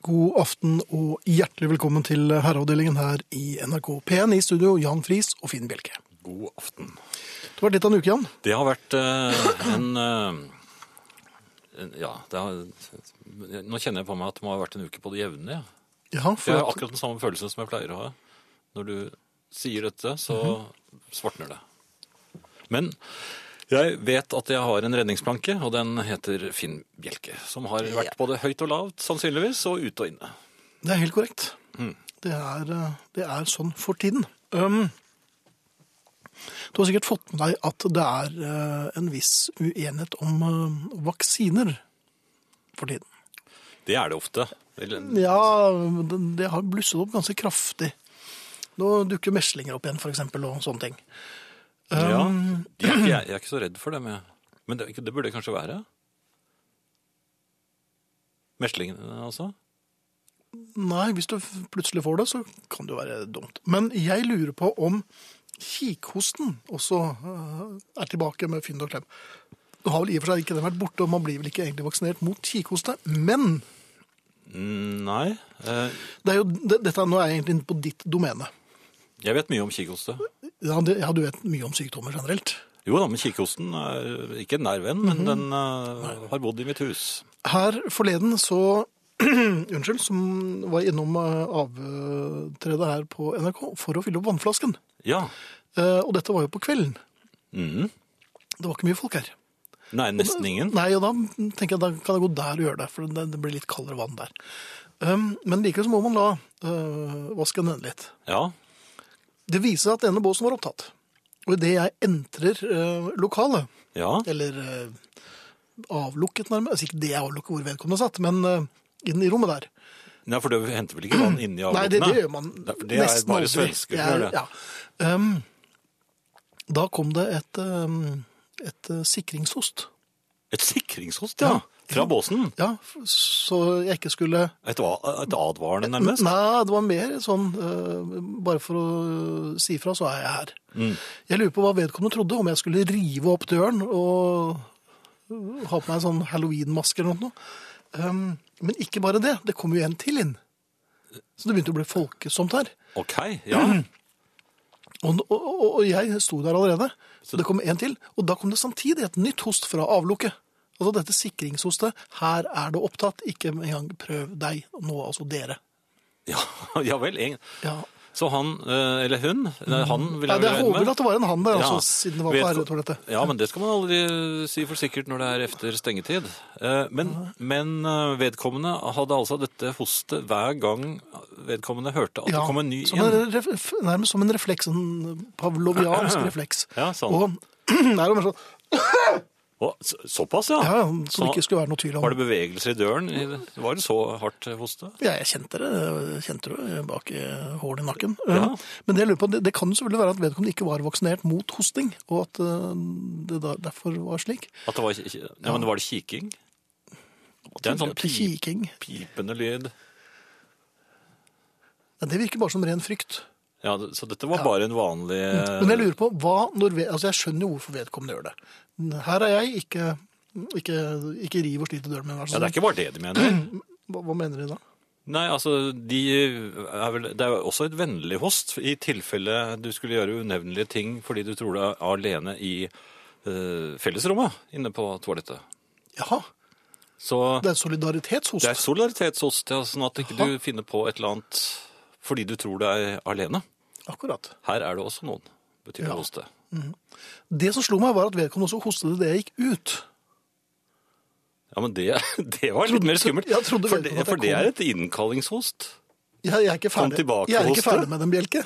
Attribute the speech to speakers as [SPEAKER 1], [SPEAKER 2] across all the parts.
[SPEAKER 1] God aften og hjertelig velkommen til herreavdelingen her i NRK P1 i studio, Jan Friis og Finn Bjelke.
[SPEAKER 2] God aften.
[SPEAKER 1] Det var litt av en uke, Jan.
[SPEAKER 2] Det har vært eh, en, eh, en Ja, det har, nå kjenner jeg på meg at det må ha vært en uke på det jevne. Ja.
[SPEAKER 1] Ja,
[SPEAKER 2] Jeg har
[SPEAKER 1] at-
[SPEAKER 2] akkurat den samme følelsen som jeg pleier å ha. Når du sier dette, så svartner det. Men jeg vet at jeg har en redningsplanke, og den heter Finn Bjelke. Som har vært både høyt og lavt, sannsynligvis, og ute og inne.
[SPEAKER 1] Det er helt korrekt. Det, er, eh, det er sånn for tiden. Um, du har sikkert fått med deg at det er eh, en viss uenighet om eh, vaksiner for tiden.
[SPEAKER 2] Det er det ofte. Eller-
[SPEAKER 1] Ja, det, det har blusset opp ganske kraftig. Nå dukker meslinger opp igjen, for eksempel, og sånne ting.
[SPEAKER 2] Ja,
[SPEAKER 1] Um,
[SPEAKER 2] de er ikke, jeg, jeg er ikke så redd for dem. jeg. Men det, det burde jeg kanskje være? Meslingene, altså?
[SPEAKER 1] Nei, hvis du f- plutselig får det, så kan det jo være dumt. Men jeg lurer på om kikhosten også eh, er tilbake med fynd og klem. Nå har vel i og for seg ikke den vært borte, og man blir vel ikke egentlig vaksinert mot kikhoste. Men
[SPEAKER 2] Mm, Nei. Eh,
[SPEAKER 1] det er jo, det, dette er, nå er jeg egentlig inne på ditt domene.
[SPEAKER 2] Jeg vet mye om kikhoste.
[SPEAKER 1] Ja, det, ja, du vet mye om sykdommer generelt.
[SPEAKER 2] Jo da, men kikhosten er ikke en nær venn,
[SPEAKER 1] Mhm.
[SPEAKER 2] men den eh, har bodd i mitt hus.
[SPEAKER 1] Her forleden så Unnskyld, som var innom eh, avtredet her på NRK for å fylle opp vannflasken.
[SPEAKER 2] Ja.
[SPEAKER 1] Eh, Og dette var jo på kvelden.
[SPEAKER 2] Mhm.
[SPEAKER 1] Det var ikke mye folk her.
[SPEAKER 2] Nei, nesten ingen.
[SPEAKER 1] Nei, og da tenker jeg da kan jeg gå der og gjøre det, for det, det blir litt kaldere vann der. Um, men likevel så må man la uh, vasken hende litt.
[SPEAKER 2] Ja.
[SPEAKER 1] Det viser seg at denne båsen var opptatt. Og idet jeg entrer uh, lokalet,
[SPEAKER 2] Ja.
[SPEAKER 1] eller uh, avlukket nærmest, altså ikke det avlukket hvor vedkommende satt, men uh, inn i rommet der.
[SPEAKER 2] Nei, for det henter vel ikke vann inni
[SPEAKER 1] Nei,
[SPEAKER 2] avlukkene?
[SPEAKER 1] det, det gjør man
[SPEAKER 2] Det, det er
[SPEAKER 1] nesten
[SPEAKER 2] bare
[SPEAKER 1] aldri.
[SPEAKER 2] svensker
[SPEAKER 1] Det
[SPEAKER 2] som
[SPEAKER 1] er-
[SPEAKER 2] gjør det.
[SPEAKER 1] Ja. Um, da kom det et, um, et uh, sikringshost.
[SPEAKER 2] Et sikringshost, ja. Fra båsen.
[SPEAKER 1] Ja, f- så jeg ikke skulle
[SPEAKER 2] Et, va- et advarende, nærmest.
[SPEAKER 1] Nei, det var mer sånn eh, Bare for å eh, si fra, så er jeg her. Jeg lurer på hva vedkommende trodde, om jeg skulle rive opp døren og ha på meg en sånn halloweenmaske eller noe. Um, men ikke bare det. Det kom jo en til inn. Så det begynte å bli folkesomt her.
[SPEAKER 2] OK, ja.
[SPEAKER 1] Og, og, og, og jeg sto der allerede.
[SPEAKER 2] Så-
[SPEAKER 1] Det kom en til, og da kom det samtidig et nytt host fra avlukket. Altså dette sikringshostet. Her er det opptatt. Ikke engang prøv deg nå, altså dere.
[SPEAKER 2] Ja, ja vel. en-
[SPEAKER 1] Ja,
[SPEAKER 2] Så han, eh, eller hun, nei, han
[SPEAKER 1] Mhm.
[SPEAKER 2] vil
[SPEAKER 1] Ja, det
[SPEAKER 2] jeg
[SPEAKER 1] er
[SPEAKER 2] regne med.
[SPEAKER 1] håper at det var en han der, altså,
[SPEAKER 2] Ja.
[SPEAKER 1] siden det var
[SPEAKER 2] Vet-
[SPEAKER 1] på herretoalettet.
[SPEAKER 2] Ja, men det skal man aldri si for sikkert når det er efter stengetid. Eh, Men, men eh, vedkommende hadde altså dette hostet hver gang vedkommende hørte at det kom en ny
[SPEAKER 1] som
[SPEAKER 2] igjen.
[SPEAKER 1] en ref- nærmest som en refleks, en pavloviansk refleks.
[SPEAKER 2] Ja, sånn.
[SPEAKER 1] Og det er jo mer sånn,
[SPEAKER 2] Å, så- såpass, ja.
[SPEAKER 1] ja, ja, så det ikke skulle være noe tvil om.
[SPEAKER 2] Var det bevegelser i døren? i det- Var det så hardt hoste?
[SPEAKER 1] Ja, jeg kjente det, jeg kjente det bak i hålen i nakken.
[SPEAKER 2] Ja.
[SPEAKER 1] Men det jeg lurer på, det, det kan jo selvfølgelig være at vedkommende ikke var vaksinert mot hosting, og at eh, det der, derfor var slik.
[SPEAKER 2] At det var, ja, men var det kiking? Det er en sånn pi,
[SPEAKER 1] Kiking.
[SPEAKER 2] pipende lyd.
[SPEAKER 1] Ja, det virker bare som ren frykt.
[SPEAKER 2] Ja, det- så dette var bare en vanlig
[SPEAKER 1] Men jeg lurer på, hva når ved, altså jeg skjønner jo hvorfor vedkommende gjør det. Her er jeg, ikke, ikke, ikke riv og slit i døren min. vær så
[SPEAKER 2] Ja, det er
[SPEAKER 1] snill.
[SPEAKER 2] ikke bare det de mener.
[SPEAKER 1] hva, hva mener de da?
[SPEAKER 2] Nei, altså, de er vel, det er jo også et vennlig host i tilfelle du skulle gjøre unevnelige ting fordi du tror du er alene i eh, fellesrommet inne på toalettet.
[SPEAKER 1] Jaha,
[SPEAKER 2] Så
[SPEAKER 1] det er solidaritetshost.
[SPEAKER 2] det er solidaritetshost, ja, sånn at ikke du finner på et eller annet fordi du tror du er alene.
[SPEAKER 1] Akkurat.
[SPEAKER 2] Her er det også noen, betyr det
[SPEAKER 1] Ja.
[SPEAKER 2] hoste.
[SPEAKER 1] Det som slo meg var at vedkommende også hostet det jeg gikk ut.
[SPEAKER 2] Ja, men det, det var litt mer skummelt.
[SPEAKER 1] Jeg trodde
[SPEAKER 2] for,
[SPEAKER 1] vel
[SPEAKER 2] det,
[SPEAKER 1] at jeg
[SPEAKER 2] for det
[SPEAKER 1] kom.
[SPEAKER 2] er et innkallingshost.
[SPEAKER 1] Jeg, jeg er ikke
[SPEAKER 2] Kom
[SPEAKER 1] ferdig,
[SPEAKER 2] tilbake,
[SPEAKER 1] jeg er ikke
[SPEAKER 2] hoste.
[SPEAKER 1] ferdig med den bjelke.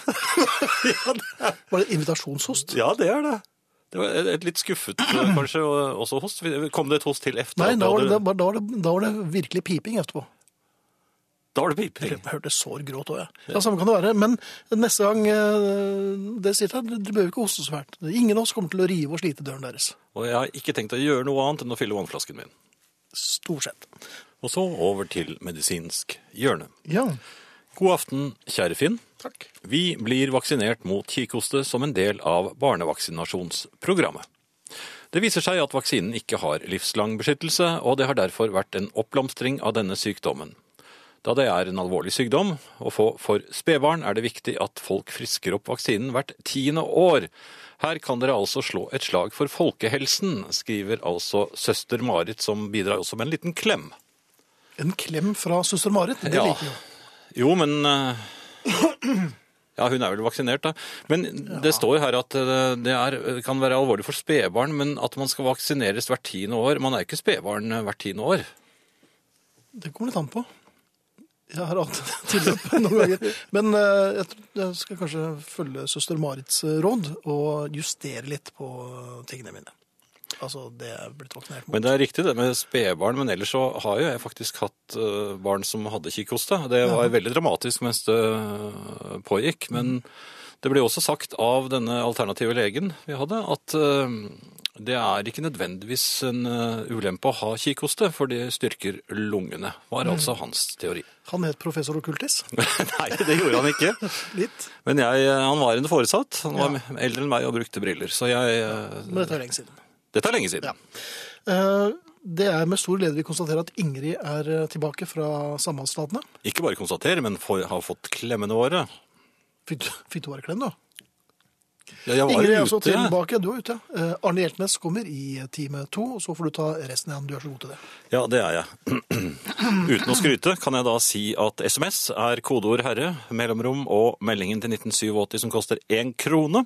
[SPEAKER 1] var det invitasjonshost?
[SPEAKER 2] Ja, det er det. Det var et- et litt skuffet eh, kanskje også host. Kom det et host til efter?
[SPEAKER 1] Nei,
[SPEAKER 2] at du
[SPEAKER 1] da var, det, da,
[SPEAKER 2] hadde-
[SPEAKER 1] var- da, var det, da var det virkelig piping etterpå.
[SPEAKER 2] da var det
[SPEAKER 1] Jeg
[SPEAKER 2] piping.
[SPEAKER 1] hørte sår gråt også, jeg. Ja, samme kan det være. Men neste gang eh, dere sitter her, dere behøver ikke hoste så fælt. Ingen av oss kommer til å rive og slite døren deres.
[SPEAKER 2] Og jeg har ikke tenkt å gjøre noe annet enn å fylle vannflasken min.
[SPEAKER 1] Stort sett.
[SPEAKER 2] Og så over til medisinsk hjørne.
[SPEAKER 1] Ja,
[SPEAKER 2] God aften, kjære Finn.
[SPEAKER 1] takk.
[SPEAKER 2] Vi blir vaksinert mot kikhoste som en del av barnevaksinasjonsprogrammet. Det viser seg at vaksinen ikke har livslang beskyttelse, og det har derfor vært en oppblomstring av denne sykdommen. Da det er en alvorlig sykdom, og for, for spedbarn er det viktig at folk frisker opp vaksinen hvert tiende år. Her kan dere altså slå et slag for folkehelsen, skriver altså søster Marit, som bidrar også med en liten klem.
[SPEAKER 1] En klem fra søster Marit, det
[SPEAKER 2] Ja.
[SPEAKER 1] liker jeg.
[SPEAKER 2] Jo, men eh, Ja, hun er vel vaksinert, da. Men det står jo her at eh, det er, kan være alvorlig for spedbarn, men at man skal vaksineres hvert tiende år Man er jo ikke spedbarn eh, hvert tiende år.
[SPEAKER 1] Det kommer litt an på. Jeg har hatt tilløp noen ganger. Men eh, jeg, tror- jeg skal kanskje følge søster Marits eh, råd og justere litt på tingene mine. Altså, det er blitt vaksinert mot.
[SPEAKER 2] Men det er riktig det med spedbarn, men ellers så har jo jeg faktisk hatt eh, barn som hadde kikhoste. Det var veldig dramatisk mens det eh, pågikk, men det ble også sagt av denne alternative legen vi hadde, at eh, det er ikke nødvendigvis en eh, ulempe å ha kikhoste, for det styrker lungene, var altså hans teori.
[SPEAKER 1] Han het professor Okultis.
[SPEAKER 2] Nei, det gjorde han ikke.
[SPEAKER 1] Litt.
[SPEAKER 2] Men jeg, eh, han var en foresatt. Han var eldre enn meg og brukte briller, så jeg eh,
[SPEAKER 1] Men dette er lenge siden.
[SPEAKER 2] Dette er lenge siden.
[SPEAKER 1] Eh, Det er med stor glede vi konstaterer at Ingrid er eh, tilbake fra Sambandsstatene.
[SPEAKER 2] Ikke bare konstatere, men for, har fått klemmene våre.
[SPEAKER 1] Fikk du- fikk du bare klem, da?
[SPEAKER 2] Ja, jeg var
[SPEAKER 1] Ingrid er
[SPEAKER 2] jo
[SPEAKER 1] også
[SPEAKER 2] ute.
[SPEAKER 1] tilbake. Du er ute. Eh, Arne Hjeltnes kommer i time to, og så får du ta resten igjen. Du er så god til det.
[SPEAKER 2] Ja, det er jeg. Uten å skryte kan jeg da si at SMS er kodeord herre, mellomrom og meldingen til 1987 som koster én krone.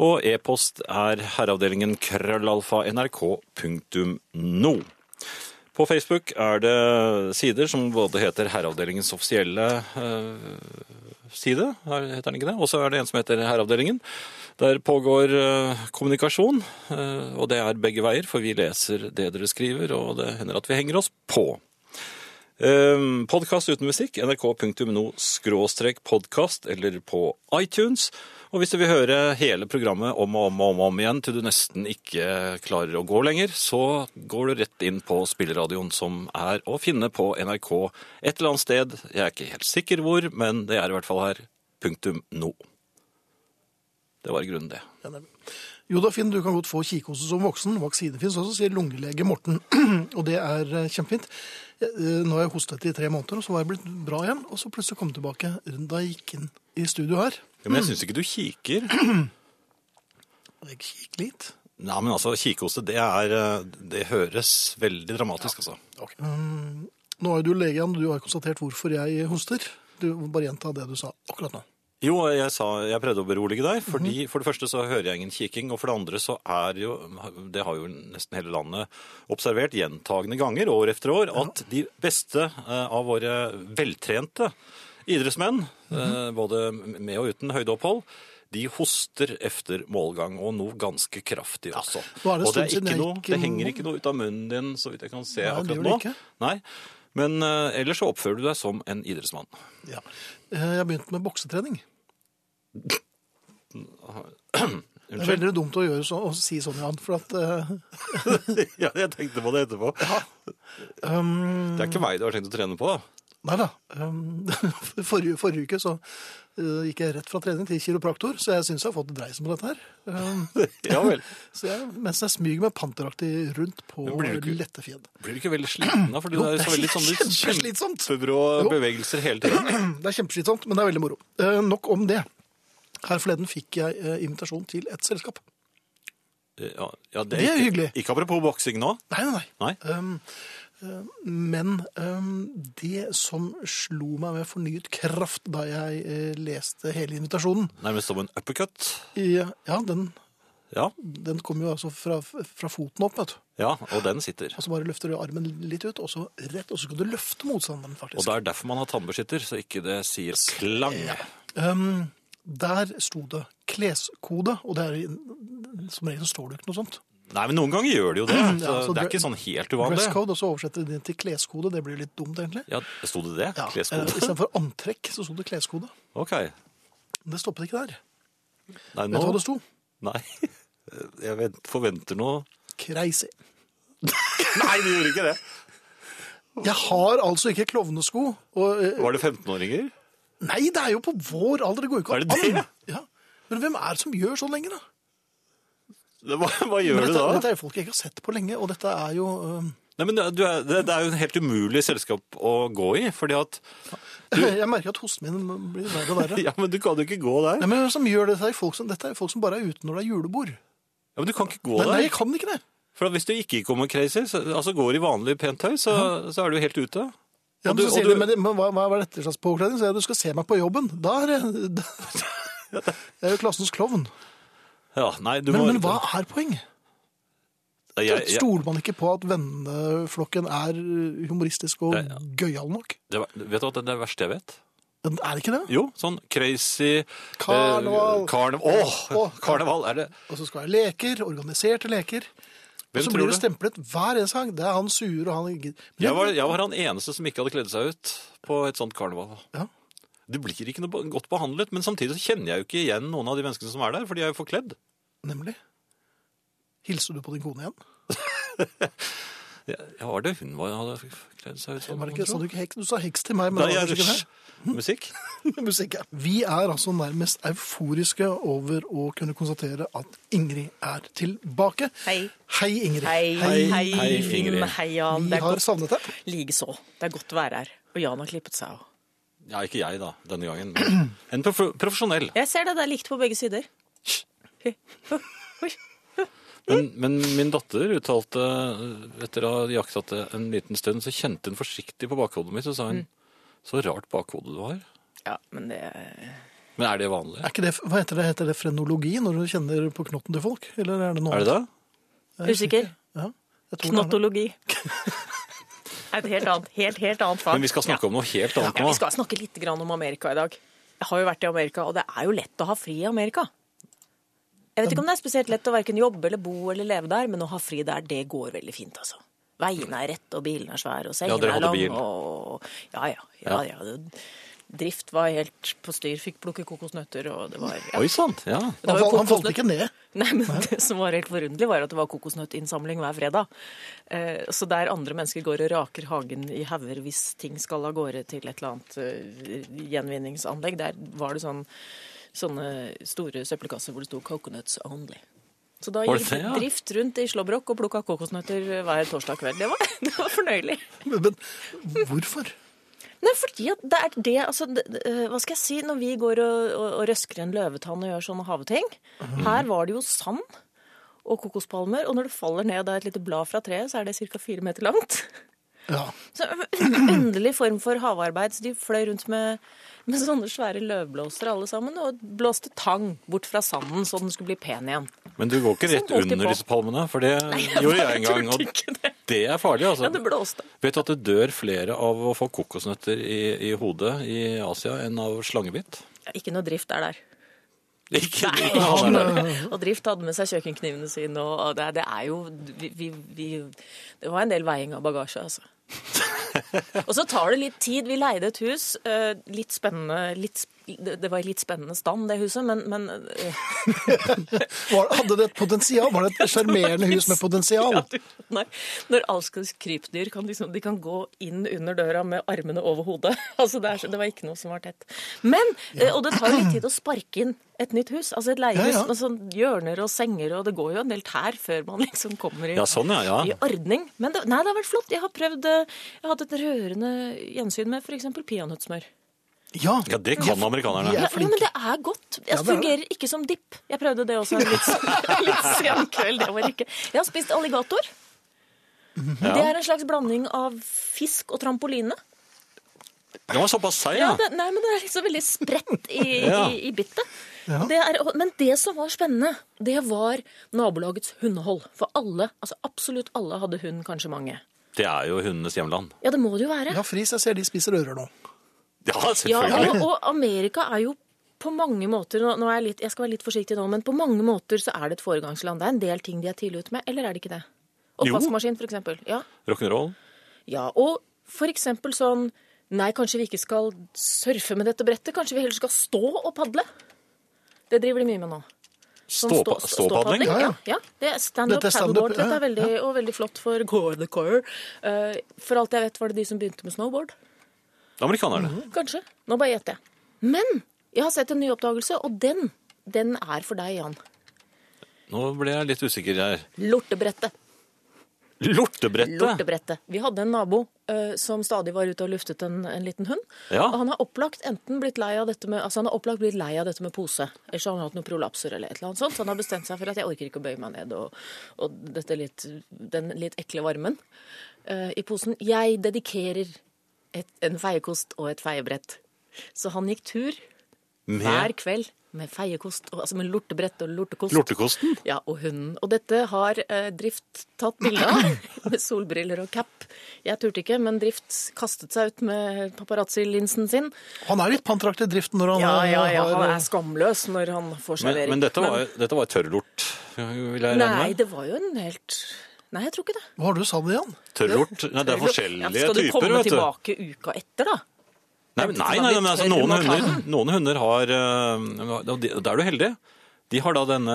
[SPEAKER 2] Og e-post er herreavdelingen krøllalfa nrk.no. På Facebook er det sider som både heter Herreavdelingens offisielle eh, side, er- heter den ikke det? Og så er det en som heter Herreavdelingen. Der pågår eh, kommunikasjon, eh, og det er begge veier, for vi leser det dere skriver, og det hender at vi henger oss på. Um, podkast uten musikk, nrk.no-podkast, eller på iTunes. Og hvis du vil høre hele programmet om og om og om, og om igjen til du nesten ikke klarer å gå lenger, så går du rett inn på spilleradioen som er å finne på NRK et eller annet sted. Jeg er ikke helt sikker hvor, men det er i hvert fall her. Punktum no. Det var i grunnen det.
[SPEAKER 1] Ja, nemlig. Jo da, Finn, du kan godt få kikhoste som voksen. Vaksine fins også, sier lungelege Morten. og det er eh, kjempefint. Jeg, eh, Nå har jeg hostet i tre måneder, og så var jeg blitt bra igjen. Og så plutselig kom jeg tilbake da jeg gikk inn i studio her.
[SPEAKER 2] Ja, men jeg syns ikke du kiker.
[SPEAKER 1] Jeg gikk litt.
[SPEAKER 2] Nei, men altså, kikhoste, det er eh, Det høres veldig dramatisk, altså.
[SPEAKER 1] Mm, Nå er jo du lege, Jan, og du har konstatert hvorfor jeg hoster. Du må bare gjenta det du sa akkurat nå.
[SPEAKER 2] Jo, jeg, sa, jeg prøvde å berolige deg, fordi for det første så hører jeg ingen kiking, og for det andre så er jo, det har jo nesten hele landet observert gjentagende ganger år efter år, at de beste eh, av våre veltrente idrettsmenn,
[SPEAKER 1] Mhm.
[SPEAKER 2] eh, både med og uten høydeopphold, de hoster efter målgang, og noe ganske kraftig også.
[SPEAKER 1] Nå er det
[SPEAKER 2] og det,
[SPEAKER 1] stund siden
[SPEAKER 2] er ikke
[SPEAKER 1] jeg
[SPEAKER 2] noe,
[SPEAKER 1] gikk
[SPEAKER 2] det
[SPEAKER 1] en
[SPEAKER 2] henger
[SPEAKER 1] gang.
[SPEAKER 2] ikke noe ut av munnen din, så vidt jeg kan se
[SPEAKER 1] Nei, det
[SPEAKER 2] akkurat
[SPEAKER 1] gjør
[SPEAKER 2] nå.
[SPEAKER 1] det ikke.
[SPEAKER 2] Nei, men eh, ellers så oppfører du deg som en idrettsmann.
[SPEAKER 1] Ja. Eh, Jeg har begynt med boksetrening. Det er
[SPEAKER 2] Unnskyld.
[SPEAKER 1] veldig dumt å gjøre så, å si sånn, Jan, for at eh,
[SPEAKER 2] Ja, jeg tenkte på det etterpå.
[SPEAKER 1] um,
[SPEAKER 2] Det er ikke meg du har tenkt å trene på, da.
[SPEAKER 1] Nei da. Um, forrige, forrige uke så eh, gikk jeg rett fra trening til kiropraktor, så jeg syns jeg har fått dreisen på dette her. Um,
[SPEAKER 2] Ja vel.
[SPEAKER 1] så jeg, mens jeg smyger meg panteraktig rundt på
[SPEAKER 2] Men blir du ikke-
[SPEAKER 1] lette fjell.
[SPEAKER 2] Blir du ikke veldig sliten da? Fordi
[SPEAKER 1] Jo,
[SPEAKER 2] det er
[SPEAKER 1] det
[SPEAKER 2] så
[SPEAKER 1] er
[SPEAKER 2] veldig sånn sånne
[SPEAKER 1] kjempeslitsomt.
[SPEAKER 2] kjempebrå
[SPEAKER 1] Jo.
[SPEAKER 2] bevegelser hele tiden.
[SPEAKER 1] Det er kjempeslitsomt, men det er veldig moro. Eh, nok om det. Her forleden fikk jeg eh, invitasjon til et selskap.
[SPEAKER 2] Ja, ja,
[SPEAKER 1] Det er
[SPEAKER 2] ikke-
[SPEAKER 1] hyggelig.
[SPEAKER 2] Ikke apropos boksing nå.
[SPEAKER 1] Nei, nei, nei.
[SPEAKER 2] Nei.
[SPEAKER 1] Um, um, men um, det som slo meg med fornyet kraft da jeg eh, leste hele invitasjonen
[SPEAKER 2] Nærmest som en uppercut.
[SPEAKER 1] i, Ja, den,
[SPEAKER 2] Ja,
[SPEAKER 1] den kom jo altså fra, fra foten opp, vet du.
[SPEAKER 2] ja, og den sitter.
[SPEAKER 1] Og så bare løfter du armen litt ut, og så rett, og så kan du løfte motstanderen,
[SPEAKER 2] Og
[SPEAKER 1] faktisk.
[SPEAKER 2] det er derfor man har tannbeskytter, så ikke det sier klang.
[SPEAKER 1] Um, der sto det kleskode, og det er, som regel så står det jo ikke noe sånt.
[SPEAKER 2] Nei, men noen ganger gjør det jo det.
[SPEAKER 1] Ja,
[SPEAKER 2] Så
[SPEAKER 1] altså
[SPEAKER 2] det er
[SPEAKER 1] dre-
[SPEAKER 2] ikke sånn helt uvanlig.
[SPEAKER 1] Dresscode, og så oversetter de det til kleskode, det blir jo litt dumt, egentlig.
[SPEAKER 2] Ja, Sto det det?
[SPEAKER 1] Ja, eh,
[SPEAKER 2] Kleskode?
[SPEAKER 1] Istedenfor antrekk, så sto det kleskode.
[SPEAKER 2] Ok.
[SPEAKER 1] Men det stoppet ikke der.
[SPEAKER 2] Nei,
[SPEAKER 1] Vet du hva
[SPEAKER 2] nå
[SPEAKER 1] det sto?
[SPEAKER 2] Nei. Jeg vent- forventer noe
[SPEAKER 1] Crazy.
[SPEAKER 2] Nei, du gjorde ikke det!
[SPEAKER 1] Jeg har altså ikke klovnesko, og eh,
[SPEAKER 2] Var det 15-åringer?
[SPEAKER 1] Nei, det er jo på vår alder, det går jo ikke
[SPEAKER 2] Er det det?
[SPEAKER 1] Ja. Men hvem er det som gjør sånn lenger, da?
[SPEAKER 2] Hva, hva gjør
[SPEAKER 1] Men
[SPEAKER 2] du
[SPEAKER 1] dette,
[SPEAKER 2] da?
[SPEAKER 1] dette er jo folk jeg ikke har sett på lenge, og dette er jo eh,
[SPEAKER 2] Nei, men du er, det, det er jo en helt umulig selskap å gå i, fordi at
[SPEAKER 1] Jeg merker at hosten min blir verre og verre.
[SPEAKER 2] Ja, men du kan jo ikke gå der.
[SPEAKER 1] Nei, men som gjør dette, er folk som, dette er folk som bare er ute når det er julebord.
[SPEAKER 2] Ja, men du kan ikke gå
[SPEAKER 1] Nei, nei,
[SPEAKER 2] der.
[SPEAKER 1] jeg kan ikke det.
[SPEAKER 2] For at hvis du ikke kommer crazy, så, altså går i vanlig pent tøy, så, så er du helt ute.
[SPEAKER 1] Ja,
[SPEAKER 2] Og
[SPEAKER 1] men,
[SPEAKER 2] du-
[SPEAKER 1] så
[SPEAKER 2] og
[SPEAKER 1] sier
[SPEAKER 2] du-
[SPEAKER 1] du, men, det- men hva, hva er dette slags påkledning? Så jeg, du skal se meg på jobben. Da er jeg, da, jeg er jo klassens klovn.
[SPEAKER 2] Ja, nei, du
[SPEAKER 1] Men,
[SPEAKER 2] må...
[SPEAKER 1] men hva er poeng?
[SPEAKER 2] Jeg, jeg,
[SPEAKER 1] Stoler man ikke på at venneflokken er humoristisk og
[SPEAKER 2] Nei, ja.
[SPEAKER 1] gøyal nok?
[SPEAKER 2] det, var- vet du hva, det er det verste jeg vet.
[SPEAKER 1] Men Er det ikke det?
[SPEAKER 2] Jo, sånn crazy...
[SPEAKER 1] Karneval.
[SPEAKER 2] Eh, karnev Åh,
[SPEAKER 1] Åh.
[SPEAKER 2] karneval er det.
[SPEAKER 1] Og så skal jeg ha leker, organiserte leker. Og så
[SPEAKER 2] Hvem tror
[SPEAKER 1] blir det
[SPEAKER 2] du?
[SPEAKER 1] stemplet hver eneste gang. Det er han sure og han gidder. Men
[SPEAKER 2] Jeg var, jeg var han eneste som ikke hadde kledd seg ut på et sånt karneval.
[SPEAKER 1] Ja.
[SPEAKER 2] Du blir ikke noe godt behandlet, men samtidig så kjenner jeg jo ikke igjen noen av de menneskene som er der, for de er jo forkledd.
[SPEAKER 1] Nemlig. Hilser du på din kone igjen?
[SPEAKER 2] Ja, var det hun var, hadde kledd seg ut sånn?
[SPEAKER 1] Var det ikke, sa
[SPEAKER 2] tro?
[SPEAKER 1] du, ikke heks? du sa heks til meg, men
[SPEAKER 2] Nei,
[SPEAKER 1] det var
[SPEAKER 2] jeg,
[SPEAKER 1] kanskje ikke det.
[SPEAKER 2] musikk?
[SPEAKER 1] Musikk, ja. Vi er altså nærmest euforiske over å kunne konstatere at Ingrid er tilbake.
[SPEAKER 3] Hei.
[SPEAKER 1] Hei, Ingrid.
[SPEAKER 3] Hei,
[SPEAKER 2] Hei,
[SPEAKER 3] hei,
[SPEAKER 2] hei,
[SPEAKER 3] Finn.
[SPEAKER 2] Ingrid.
[SPEAKER 3] Hei, Jan.
[SPEAKER 1] Vi
[SPEAKER 3] Det er
[SPEAKER 1] har
[SPEAKER 3] godt,
[SPEAKER 1] savnet deg.
[SPEAKER 3] Likeså. Det er godt å være her. Og Jan har klippet seg òg.
[SPEAKER 2] Ja, ikke jeg da, denne gangen. men En prof profesjonell.
[SPEAKER 3] Jeg ser det. Det er likt på begge sider.
[SPEAKER 2] Men, men min datter uttalte, etter å ha jaktet det en liten stund, så kjente hun forsiktig på bakhodet mitt, og sa hun, så rart bakhode du har.
[SPEAKER 3] Ja, men det
[SPEAKER 2] Men er det vanlig?
[SPEAKER 1] Er ikke det, hva heter det? Heter det frenologi når du kjenner på knotten til folk? Eller er det noe
[SPEAKER 2] Er det det?
[SPEAKER 1] annet?
[SPEAKER 3] Usikker.
[SPEAKER 1] Ja, jeg tror det er noe.
[SPEAKER 3] Knottologi. Det er et helt annet, helt, helt annet fag.
[SPEAKER 2] Men vi skal snakke om noe helt annet
[SPEAKER 3] ja, Vi
[SPEAKER 2] nå.
[SPEAKER 3] skal snakke litt grann om Amerika i dag. Jeg har jo vært i Amerika, og det er jo lett å ha fri i Amerika. Jeg vet ikke om det er spesielt lett å hverken jobbe eller bo eller leve der, men å ha fri der, det går veldig fint, altså. Veiene er rette, og bilene er svære, og sengene
[SPEAKER 2] dere
[SPEAKER 3] er
[SPEAKER 2] hadde
[SPEAKER 3] lange,
[SPEAKER 2] bil.
[SPEAKER 3] og ja, ja. ja, ja det, drift var helt på styr, fikk plukke kokosnøtter, og det var ja.
[SPEAKER 2] Oi, sant, ja.
[SPEAKER 3] Det var
[SPEAKER 1] Han,
[SPEAKER 3] jo
[SPEAKER 1] falt- han falt
[SPEAKER 3] kokosnøtt.
[SPEAKER 1] ikke ned.
[SPEAKER 3] Nei, men Det som var helt forunderlig, var at det var kokosnøttinnsamling hver fredag. Eh, Så der andre mennesker går og raker hagen i hauger hvis ting skal av gårde til et eller annet eh, gjenvinningsanlegg, der var det sånn, sånne store søppelkasser hvor det sto 'coconuts only'. Så da
[SPEAKER 2] Var
[SPEAKER 3] gikk
[SPEAKER 2] det det, ja?
[SPEAKER 3] drift rundt i Slåbrok og plukka kokosnøtter hver torsdag kveld. Det var, det var fornøyelig.
[SPEAKER 1] Men, men hvorfor?
[SPEAKER 3] Nei, fordi at det er det, altså, det, det, eh, hva skal jeg si, når vi går og, og, og røsker en løvetann og gjør sånne haveting, her var det jo sand og kokospalmer, og når det faller ned av et lite blad fra treet, så er det cirka fire meter langt.
[SPEAKER 1] Ja.
[SPEAKER 3] Så en underlig form for havarbeid, så de fløy rundt med, med sånne svære løvblåsere alle sammen, og blåste tang bort fra sanden, så den skulle bli pen igjen.
[SPEAKER 2] Men du går ikke rett
[SPEAKER 3] Sånn holdt de
[SPEAKER 2] under
[SPEAKER 3] på.
[SPEAKER 2] disse palmene, for det gjorde jeg en
[SPEAKER 3] turte
[SPEAKER 2] gang. Og
[SPEAKER 3] ikke det.
[SPEAKER 2] det er farlig,
[SPEAKER 3] Ja, det
[SPEAKER 2] altså.
[SPEAKER 3] blåste.
[SPEAKER 2] Vet du at det dør flere av å få kokosnøtter i, i hodet i Asia enn av slangebitt?
[SPEAKER 3] Ja, ikke noe drift er der.
[SPEAKER 2] Ikke,
[SPEAKER 3] Nei,
[SPEAKER 2] ikke noe annet.
[SPEAKER 3] Og Drift hadde med seg kjøkkenknivene sine, og og det, det er jo vi, vi, vi, Det var en del veiing av bagasje, altså. og så tar det litt tid. Vi leide et hus. eh, Litt spennende litt, sp- Det det var i litt spennende stand, det huset, men, men eh,
[SPEAKER 1] Var, hadde det et potensial? Var det et sjarmerende hus med potensial?
[SPEAKER 3] ja, du, nei, Når alskens krypdyr kan liksom, de kan gå inn under døra med armene over hodet. altså det, er, så- det var ikke noe som var tett. Men, eh, Og det tar litt tid å sparke inn et nytt hus. altså Et leiehus
[SPEAKER 1] Ja, ja.
[SPEAKER 3] med sånn hjørner og senger, og det går jo en del tær før man liksom kommer i
[SPEAKER 2] Ja, sånn, ja, ja.
[SPEAKER 3] i ordning. Men det, nei, det har vært flott. Jeg har prøvd eh, Jeg har hatt et rørende gjensyn med f.eks. peanøttsmør.
[SPEAKER 1] Ja.
[SPEAKER 2] Ja, det kan amerikanerne.
[SPEAKER 1] Ja.
[SPEAKER 3] Ja,
[SPEAKER 1] er
[SPEAKER 3] ja, men det er godt. Det
[SPEAKER 1] det er det.
[SPEAKER 3] fungerer ikke som dipp. Jeg prøvde det også en litt, litt sen kveld. Det var ikke Jeg har spist alligator. Det er en slags blanding av fisk og trampoline.
[SPEAKER 2] Den var såpass seig, ja.
[SPEAKER 3] Ja, det, nei, men det er liksom veldig spredt i,
[SPEAKER 2] Ja.
[SPEAKER 3] i, i bittet.
[SPEAKER 1] Ja.
[SPEAKER 3] Det er, men det som var spennende, det var nabolagets hundehold. For alle, altså absolutt alle, hadde hund, kanskje mange.
[SPEAKER 2] Det er jo hundenes hjemland.
[SPEAKER 3] Ja, det må det jo være.
[SPEAKER 1] ja, Friis, jeg ser de spiser ører nå.
[SPEAKER 2] Ja,
[SPEAKER 3] Ja,
[SPEAKER 2] selvfølgelig.
[SPEAKER 3] og, og Amerika er jo på mange måter, nå, nå er jeg, litt, jeg skal være litt forsiktig nå, men på mange måter så er det et foregangsland. Det er en del ting de er tidlig ute med, eller er det ikke det?
[SPEAKER 2] Jo.
[SPEAKER 3] Oppvaskmaskin, for eksempel. Ja.
[SPEAKER 2] Rock'n'roll.
[SPEAKER 3] ja, og for eksempel sånn, nei, kanskje vi ikke skal surfe med dette brettet, kanskje vi heller skal stå og padle? Det driver de mye med nå. Sånn
[SPEAKER 2] Ståpa-
[SPEAKER 3] stå-
[SPEAKER 2] Ståpadling.
[SPEAKER 1] Ja,
[SPEAKER 3] Ja,
[SPEAKER 1] ja.
[SPEAKER 3] ja. Det er stand-up
[SPEAKER 1] Dette er stand-up,
[SPEAKER 3] paddleboard. Dette
[SPEAKER 1] ja,
[SPEAKER 3] er veldig, og veldig flott for Gore the Core. Eh, for alt jeg vet, var det de som begynte med snowboard.
[SPEAKER 2] Amerikanerne.
[SPEAKER 3] Kanskje. Nå bare gjetter jeg. Men jeg har sett en ny oppdagelse, og den, den er for deg, Jan.
[SPEAKER 2] Nå ble jeg litt usikker her.
[SPEAKER 3] Lortebrettet.
[SPEAKER 2] Lortebrettet!
[SPEAKER 3] Lortebrettet. Vi hadde en nabo eh, som stadig var ute og luftet en, en liten hund.
[SPEAKER 2] Ja.
[SPEAKER 3] Og han har opplagt enten blitt lei av dette med, altså han har opplagt blitt lei av dette med pose. Eller så har han hatt noen prolapser eller et eller annet sånt. Så han har bestemt seg for at jeg orker ikke å bøye meg ned og, og dette litt, den litt ekle varmen eh, i posen. Jeg dedikerer et, en feiekost og et feiebrett. Så han gikk tur hver
[SPEAKER 2] Med
[SPEAKER 3] kveld med feiekost, og, altså med lortebrett og lortekost.
[SPEAKER 2] lortekosten.
[SPEAKER 3] Ja, og hunden. Og dette har eh, Drift tatt bilde av, med solbriller og cap. Jeg turte ikke, men Drift kastet seg ut med paparazzi-linsen sin. eh,
[SPEAKER 1] Han er litt pantraktig i driften når han
[SPEAKER 3] Ja, ja, ja,
[SPEAKER 1] har
[SPEAKER 3] han er skamløs når han får
[SPEAKER 2] Men,
[SPEAKER 3] servering.
[SPEAKER 2] men dette var, dette var tørrlort, vil jeg regne
[SPEAKER 3] Nei,
[SPEAKER 2] med?
[SPEAKER 3] det var jo en helt Nei, jeg tror ikke det.
[SPEAKER 1] Hva har du sa det igjen?
[SPEAKER 2] Tørrlort? Nei, det er
[SPEAKER 3] Ja,
[SPEAKER 2] forskjellige
[SPEAKER 3] Skal du
[SPEAKER 2] typer,
[SPEAKER 3] komme
[SPEAKER 2] vet du.
[SPEAKER 3] tilbake uka etter, da?
[SPEAKER 2] Nei,
[SPEAKER 3] Det er
[SPEAKER 2] nei,
[SPEAKER 3] litt
[SPEAKER 2] nei, men altså,
[SPEAKER 3] tørr
[SPEAKER 2] noen,
[SPEAKER 3] under
[SPEAKER 2] hunder,
[SPEAKER 3] tann.
[SPEAKER 2] noen hunder har øh, og de- og Da er du heldig. De har da denne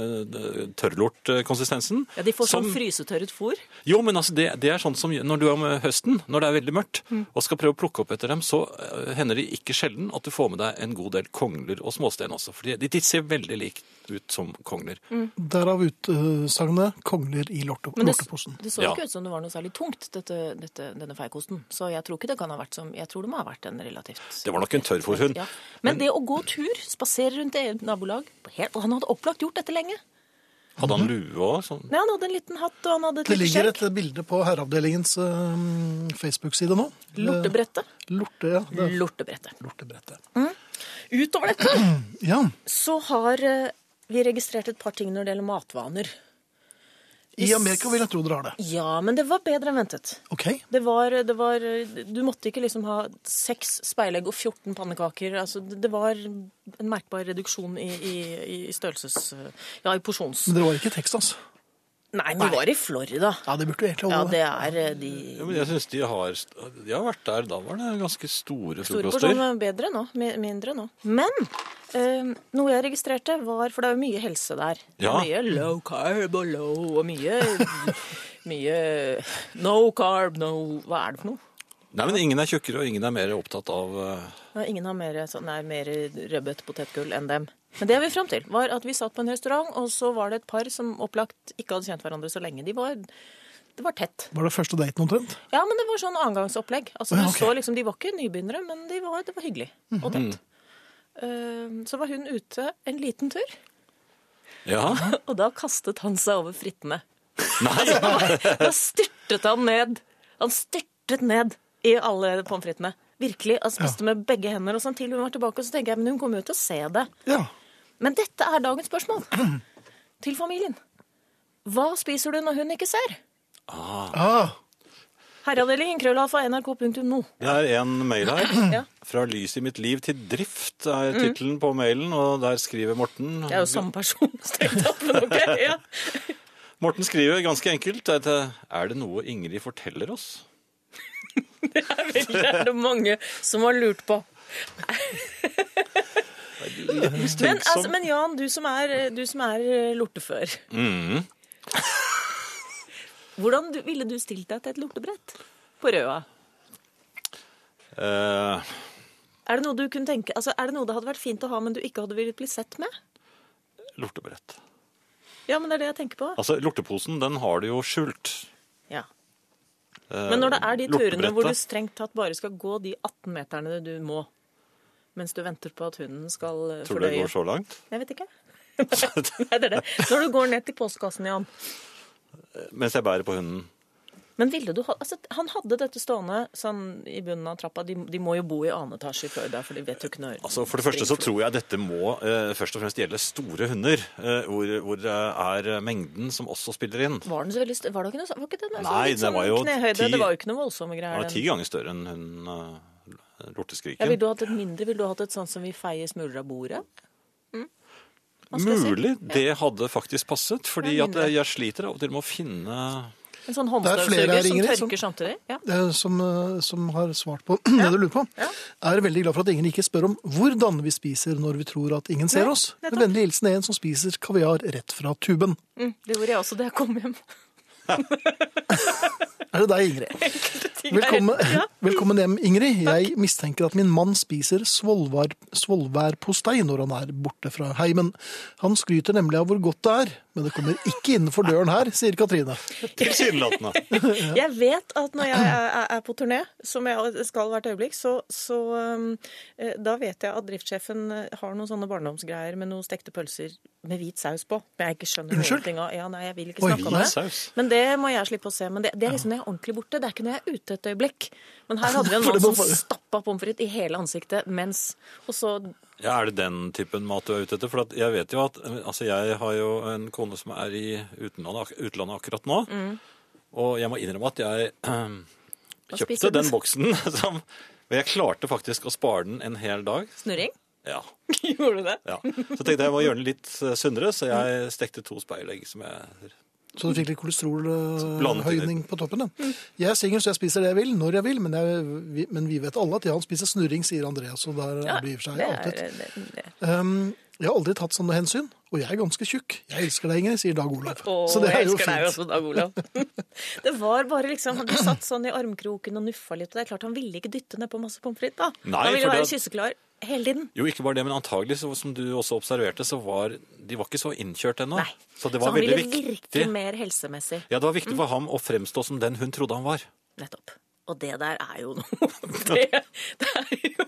[SPEAKER 2] øh, tørrlortkonsistensen.
[SPEAKER 3] Ja, De får sånn
[SPEAKER 2] som-
[SPEAKER 3] frysetørret fôr.
[SPEAKER 2] Jo, men altså, det, det er sånn som når du er med høsten, når det er veldig mørkt,
[SPEAKER 3] Mm.
[SPEAKER 2] og skal prøve å plukke opp etter dem, så øh, hender det ikke sjelden at du får med deg en god del kongler og småsten også. For de, de ser veldig like ut som kongler.
[SPEAKER 3] Mm.
[SPEAKER 1] Derav utsagnet 'Kongler i lorte,
[SPEAKER 3] Men det,
[SPEAKER 1] lorteposen'.
[SPEAKER 3] det så
[SPEAKER 2] Ja.
[SPEAKER 3] ikke ut som det var noe særlig tungt, dette, dette, denne feiekosten. Så jeg tror ikke det kan ha vært som Jeg tror det må ha vært en relativt
[SPEAKER 2] Det var nok en tørrfòrhund.
[SPEAKER 3] Ja. Men, det å gå tur, spasere rundt i eget nabolag på hel- Og han hadde opplagt gjort dette lenge.
[SPEAKER 2] Hadde han
[SPEAKER 3] Mhm.
[SPEAKER 2] lue òg? Sånn.
[SPEAKER 3] Nei, Han hadde en liten hatt og han hadde et
[SPEAKER 1] Det
[SPEAKER 3] lite
[SPEAKER 1] ligger
[SPEAKER 3] skjegg.
[SPEAKER 1] et bilde på herreavdelingens eh, Facebook-side nå.
[SPEAKER 3] Lortebrettet.
[SPEAKER 1] Eh, Lorte, ja. Det er
[SPEAKER 3] Lortebrettet.
[SPEAKER 1] lortebrettet.
[SPEAKER 3] Utover dette
[SPEAKER 1] Ja.
[SPEAKER 3] så har eh, vi registrert et par ting når det gjelder matvaner.
[SPEAKER 1] I Amerika vil jeg tro dere har det.
[SPEAKER 3] Ja, men det var bedre enn ventet.
[SPEAKER 1] OK.
[SPEAKER 3] Det var, det var Du måtte ikke liksom ha seks speilegg og 14 pannekaker. Altså, det det var en merkbar reduksjon i, i, i størrelses... Ja, i porsjons...
[SPEAKER 1] Men dere var ikke i Texas.
[SPEAKER 3] Nei, men vi var i Florida.
[SPEAKER 1] Ja, det burde jo egentlig
[SPEAKER 3] Ja,
[SPEAKER 1] holde.
[SPEAKER 3] det er eh, de
[SPEAKER 2] Ja, men jeg synes de har, de har vært der. Da var det ganske store
[SPEAKER 3] Store
[SPEAKER 2] frokoster.
[SPEAKER 3] porsjoner er bedre nå. mi- Mindre nå. Men eh, noe jeg registrerte, var For det er jo mye helse der.
[SPEAKER 2] Ja.
[SPEAKER 3] Mye low carb og low, og mye Mye no carb, no Hva er det for noe?
[SPEAKER 2] Nei, men Ingen er tjukkere, og ingen er mer opptatt av eh,
[SPEAKER 3] Nei, Ingen har mer, sånn, nei, mer rødbet potetgull enn dem. Men det vi fram til, var at vi satt på en restaurant, og så var det et par som opplagt ikke hadde kjent hverandre så lenge. De var, det var tett.
[SPEAKER 1] Var det første daten omtrent?
[SPEAKER 3] Ja, men det var sånn annengangsopplegg. Altså,
[SPEAKER 1] Ja,
[SPEAKER 3] du
[SPEAKER 1] ok. Mhm.
[SPEAKER 3] så liksom, de var ikke nybegynnere, men de var, det var hyggelig og tett. Eh, Så var hun ute en liten tur,
[SPEAKER 2] Ja.
[SPEAKER 3] og da kastet han seg over frittene.
[SPEAKER 2] Nei!
[SPEAKER 3] Da styrtet han ned. Han styrtet ned i alle pommes fritesene. Virkelig. Han spiste med begge hender. Og sånn til hun var tilbake, så tenker jeg men hun kommer jo til å se det.
[SPEAKER 1] Ja.
[SPEAKER 3] Men dette er dagens spørsmål til familien. Hva spiser du når hun ikke ser?
[SPEAKER 1] Ah,
[SPEAKER 3] Herreavdelingen krøllalfa nrk.no.
[SPEAKER 2] Det er en mail her.
[SPEAKER 3] Ja. Mm.
[SPEAKER 2] Fra lys i mitt liv til drift er tittelen på mailen, og der skriver Morten
[SPEAKER 3] Det er jo samme person. strengt tatt, men ok, ja.
[SPEAKER 2] Morten skriver ganske enkelt at eh, er det noe Ingrid forteller oss?
[SPEAKER 3] Det er det mange som har lurt på.
[SPEAKER 2] Litt
[SPEAKER 3] Men, altså,
[SPEAKER 2] mistenksom.
[SPEAKER 3] men Jan, du som er, du som er eh, lortefør.
[SPEAKER 2] Mm.
[SPEAKER 3] Hvordan du, ville du stilt deg til et lortebrett på Røa?
[SPEAKER 2] Eh,
[SPEAKER 3] Er det noe du kunne tenke, altså, er det noe det hadde vært fint å ha, men du ikke hadde villet bli sett med?
[SPEAKER 2] lortebrett.
[SPEAKER 3] Ja, men det er det jeg tenker på.
[SPEAKER 2] Altså, lorteposen, den har du jo skjult.
[SPEAKER 3] Ja.
[SPEAKER 2] Eh,
[SPEAKER 3] Men når det er de turene hvor du
[SPEAKER 2] lortebrettet-
[SPEAKER 3] strengt tatt bare skal gå de 18 meterne du må, mens du venter på at hunden skal eh,
[SPEAKER 2] Tror du det
[SPEAKER 3] fordøye
[SPEAKER 2] går så langt?
[SPEAKER 3] Jeg vet ikke. Nei, det er det. Når du går ned til postkassen, Jan.
[SPEAKER 2] Mens jeg bærer på hunden.
[SPEAKER 3] Men ville du ha altså, Han hadde dette stående sånn i bunnen av trappa. De, de må jo bo i annen etasje i Florida, for de vet jo ikke når
[SPEAKER 2] Altså, For det første så tror jeg dette må eh, først og fremst gjelde store hunder, eh, hvor, hvor det er mengden som også spiller inn.
[SPEAKER 3] Var den så veldig st- Var det ikke noe sånn? Var ikke den, altså,
[SPEAKER 2] Nei,
[SPEAKER 3] litt
[SPEAKER 2] den
[SPEAKER 3] sånn
[SPEAKER 2] var jo
[SPEAKER 3] knehøyde?
[SPEAKER 2] ti-
[SPEAKER 3] Det var jo ikke noe voldsomme
[SPEAKER 2] Den
[SPEAKER 3] greier.
[SPEAKER 2] er ti
[SPEAKER 3] Den.
[SPEAKER 2] ganger større enn hun eh,
[SPEAKER 3] Ja,
[SPEAKER 2] lorteskriken.
[SPEAKER 3] ville du hatt et mindre? Ville du hatt et sånt som vi feier smuler av bordet? Mm. Hva skal jeg si?
[SPEAKER 2] Mulig det hadde faktisk passet, fordi
[SPEAKER 3] Ja,
[SPEAKER 2] at eh,
[SPEAKER 3] mindre.
[SPEAKER 2] jeg, jeg sliter av og til med å finne
[SPEAKER 3] En sånn
[SPEAKER 1] Det er flere her,
[SPEAKER 3] håndstøvsuger som
[SPEAKER 1] Ingrid, som-
[SPEAKER 3] tørker samtidig? Ja.
[SPEAKER 1] eh, som, eh, som har svart på det du lurer på, er veldig glad for at ingen ikke spør om hvordan vi spiser når vi tror at ingen ser oss. Med
[SPEAKER 3] nettopp.
[SPEAKER 1] vennlig hilsen en som spiser kaviar rett fra tuben.
[SPEAKER 3] Mm, det gjorde jeg også da jeg kom hjem.
[SPEAKER 1] Er det deg, Ingrid?
[SPEAKER 3] Ting er-
[SPEAKER 1] Velkommen,
[SPEAKER 3] Ja.
[SPEAKER 1] velkommen hjem, Ingrid. Jeg mistenker at min mann spiser svolvær- svolværpostei når han er borte fra heimen. Han skryter nemlig av hvor godt det er, men det kommer ikke innenfor døren her, sier Katrine.
[SPEAKER 2] Tilsynelatende.
[SPEAKER 3] Jeg vet at når jeg er, er- er på turné, som jeg skal hvert øyeblikk, så, så um, eh, da vet jeg at driftssjefen eh, har noen sånne barndomsgreier med noen stekte pølser med hvit saus på. Men jeg ikke skjønner
[SPEAKER 1] Unnskyld?
[SPEAKER 3] noen ting av. Ja, nei, jeg vil ikke
[SPEAKER 1] Oi,
[SPEAKER 3] snakke om
[SPEAKER 2] hvit
[SPEAKER 3] det.
[SPEAKER 2] saus.
[SPEAKER 3] Men det må jeg slippe å se. Men det, det er liksom når jeg er ordentlig borte. Det er ikke når jeg er ute et øyeblikk. Men her hadde vi en
[SPEAKER 1] For det
[SPEAKER 3] mann
[SPEAKER 1] var
[SPEAKER 3] som
[SPEAKER 1] for-
[SPEAKER 3] stappa pommes frites i hele ansiktet mens Og så
[SPEAKER 2] Ja, er det den typen mat du er ute etter? For at jeg vet jo at eh, altså jeg har jo en kone som er i utenlandet, ak- utlandet akkurat nå. Og jeg må innrømme at jeg eh,
[SPEAKER 3] Mm.
[SPEAKER 2] kjøpte
[SPEAKER 3] spiser den?
[SPEAKER 2] den boksen som Og jeg klarte faktisk å spare den en hel dag.
[SPEAKER 3] snurring.
[SPEAKER 2] Ja.
[SPEAKER 3] Gjorde du det?
[SPEAKER 2] ja. Så tenkte jeg jeg må gjøre den litt eh, sunnere, så
[SPEAKER 3] Mm.
[SPEAKER 2] jeg stekte to speilegg som jeg
[SPEAKER 1] Så du fikk litt
[SPEAKER 2] Blandet inn Mm. i-
[SPEAKER 1] kolesterolhøyning på toppen. Ja. Jeg er singel, så jeg spiser det jeg vil, når jeg vil, men, jeg, vi, men vi vet alle at ja, han spiser snurring, sier Andreas, og der
[SPEAKER 3] Ja,
[SPEAKER 1] blir i og for
[SPEAKER 3] det
[SPEAKER 1] seg
[SPEAKER 3] er-
[SPEAKER 1] outet.
[SPEAKER 3] det- det-
[SPEAKER 1] Um, jeg har aldri tatt sånne hensyn, og jeg er ganske tjukk. Jeg elsker deg, Ingrid, sier Dag Olav.
[SPEAKER 3] Å,
[SPEAKER 1] så det er
[SPEAKER 3] jeg
[SPEAKER 1] jo
[SPEAKER 3] elsker deg
[SPEAKER 1] fint.
[SPEAKER 3] også, Dag Olav. Det var bare liksom, Du satt sånn i armkroken og nuffa litt, og det er klart han ville ikke dytte nedpå masse pommes frites. da.
[SPEAKER 2] Nei,
[SPEAKER 3] han ville
[SPEAKER 2] for
[SPEAKER 3] være
[SPEAKER 2] det-
[SPEAKER 3] kysseklar hele tiden.
[SPEAKER 2] Jo, ikke bare det, men antagelig, så, som du også observerte, så var de var ikke så innkjørt ennå.
[SPEAKER 3] Nei.
[SPEAKER 2] Så det var
[SPEAKER 3] han ville Mm.
[SPEAKER 2] veldig viktig.
[SPEAKER 3] virke mer helsemessig.
[SPEAKER 2] Ja, det var viktig for ham å fremstå som den hun trodde han var.
[SPEAKER 3] Nettopp. Og det der er jo noe Det, det er jo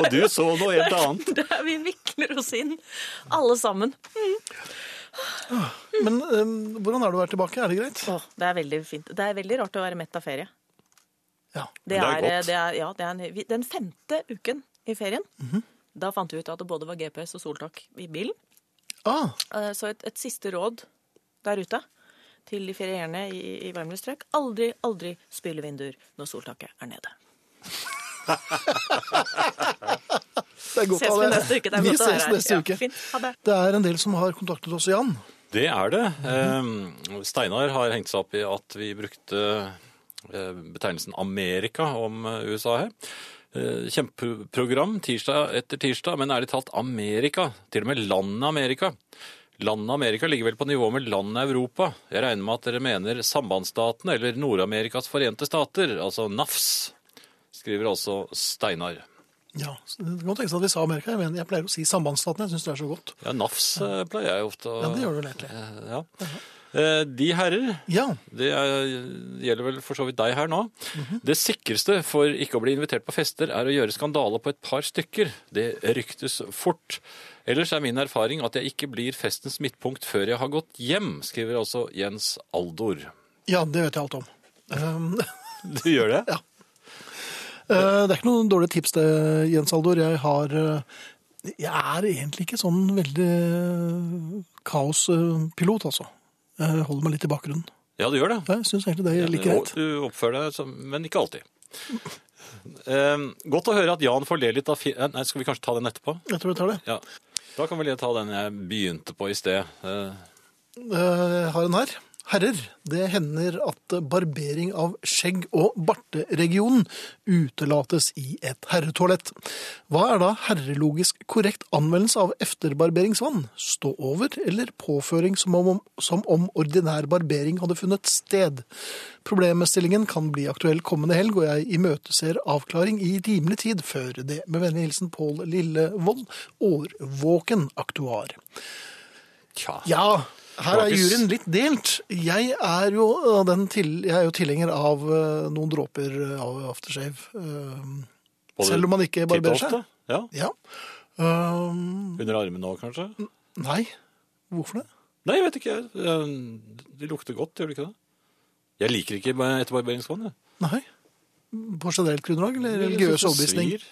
[SPEAKER 2] Og du så noe helt annet.
[SPEAKER 3] det er, Vi vikler oss inn, alle sammen.
[SPEAKER 1] Men um, hvordan er det å være tilbake? Er det greit?
[SPEAKER 3] Åh, det er veldig fint. Det er veldig rart å være mett av ferie.
[SPEAKER 1] Ja.
[SPEAKER 3] Det
[SPEAKER 2] Men det
[SPEAKER 3] er,
[SPEAKER 2] er godt.
[SPEAKER 3] det er, ja, det er en, vi- den femte uken i ferien.
[SPEAKER 2] Mhm.
[SPEAKER 3] Da fant vi ut at det både var GPS og soltak i bilen.
[SPEAKER 1] Ah,
[SPEAKER 3] Eh, Så et, et siste råd der ute til de ferierende i, i varmere strøk. Aldri, aldri spyle vinduer når soltaket er nede.
[SPEAKER 1] det er godt
[SPEAKER 3] Ses
[SPEAKER 1] å ha
[SPEAKER 3] vi
[SPEAKER 1] det.
[SPEAKER 3] neste uke. Det er
[SPEAKER 1] Vi
[SPEAKER 3] godt å være
[SPEAKER 1] ses
[SPEAKER 3] her.
[SPEAKER 1] neste
[SPEAKER 3] Ja,
[SPEAKER 1] uke.
[SPEAKER 3] fint. Ha det.
[SPEAKER 1] Det er en del som har kontaktet oss, Jan.
[SPEAKER 2] Det er det. Eh, Steinar har hengt seg opp i at vi brukte eh, betegnelsen Amerika om eh, USA her. Eh, Kjempeprogram tirsdag etter tirsdag, men ærlig talt Amerika. Til og med landet Amerika. Landet Amerika ligger vel på nivå med landet Europa. Jeg regner med at dere mener sambandsstatene eller Nord-Amerikas forente stater, altså NAFS, skriver altså Steinar.
[SPEAKER 1] Ja, så det kan godt tenkes at vi sa Amerika. Jeg, mener, jeg pleier å si sambandsstaten, jeg synes det er så godt.
[SPEAKER 2] Ja, NAFS eh, pleier jeg ofte å
[SPEAKER 1] Ja, det gjør du vel egentlig.
[SPEAKER 2] Eh, Ja. Eh, De herrer,
[SPEAKER 1] Ja,
[SPEAKER 2] det er, gjelder vel for så vidt deg her nå. Det sikreste for ikke å bli invitert på fester er å gjøre skandale på et par stykker. Det ryktes fort. Ellers er min erfaring at jeg ikke blir festens midtpunkt før jeg har gått hjem, skriver altså Jens Aldor.
[SPEAKER 1] ja, det vet jeg alt om. Um,
[SPEAKER 2] Du gjør det?
[SPEAKER 1] Eh, Det er ikke noen dårlige tips det, Jens Aldor. Jeg har eh, Jeg er egentlig ikke sånn veldig eh, kaospilot, altså. Jeg holder meg litt i bakgrunnen.
[SPEAKER 2] Ja, du gjør det.
[SPEAKER 1] Jeg syns egentlig det er like
[SPEAKER 2] Ja,
[SPEAKER 1] greit.
[SPEAKER 2] Du oppfører deg, som- men ikke alltid. Eh, Godt å høre at Jan får le litt av fi- eh, Nei, skal vi kanskje ta den etterpå?
[SPEAKER 1] Jeg tror jeg tar det.
[SPEAKER 2] Ja. Da kan vel jeg ta den jeg begynte på i sted. Eh,
[SPEAKER 1] Eh, Jeg har en her. Herrer, det hender at barbering av skjegg- og barteregionen utelates i et herretoalett. Hva er da herrelogisk korrekt anvendelse av efterbarberingsvann? Stå over eller påføring som om, som om ordinær barbering hadde funnet sted? Problemstillingen kan bli aktuell kommende helg, og jeg imøteser avklaring i rimelig tid før det. Med vennlig hilsen Pål Lillevold, årvåken aktuar.
[SPEAKER 2] Tja.
[SPEAKER 1] Ja, her
[SPEAKER 2] Det var
[SPEAKER 1] er
[SPEAKER 2] ikke s-
[SPEAKER 1] juryen litt delt. Jeg er jo, av den til, jeg er jo tilhenger av eh, noen dråper eh, av aftershave. eh,
[SPEAKER 2] Både
[SPEAKER 1] selv om man ikke
[SPEAKER 2] titt og
[SPEAKER 1] barberer seg.
[SPEAKER 2] ofte? Ja.
[SPEAKER 1] Ja. Eh,
[SPEAKER 2] Under armene òg, kanskje?
[SPEAKER 1] nei, hvorfor det?
[SPEAKER 2] Nei, jeg vet ikke. jeg. Eh, Det lukter godt, gjør det ikke det? Jeg liker ikke ba- etterbarberingsvann. jeg.
[SPEAKER 1] Nei. På generelt grunnlag, eller
[SPEAKER 2] Jeg
[SPEAKER 1] religiøs
[SPEAKER 2] synes det
[SPEAKER 1] overbevisning?
[SPEAKER 2] svir.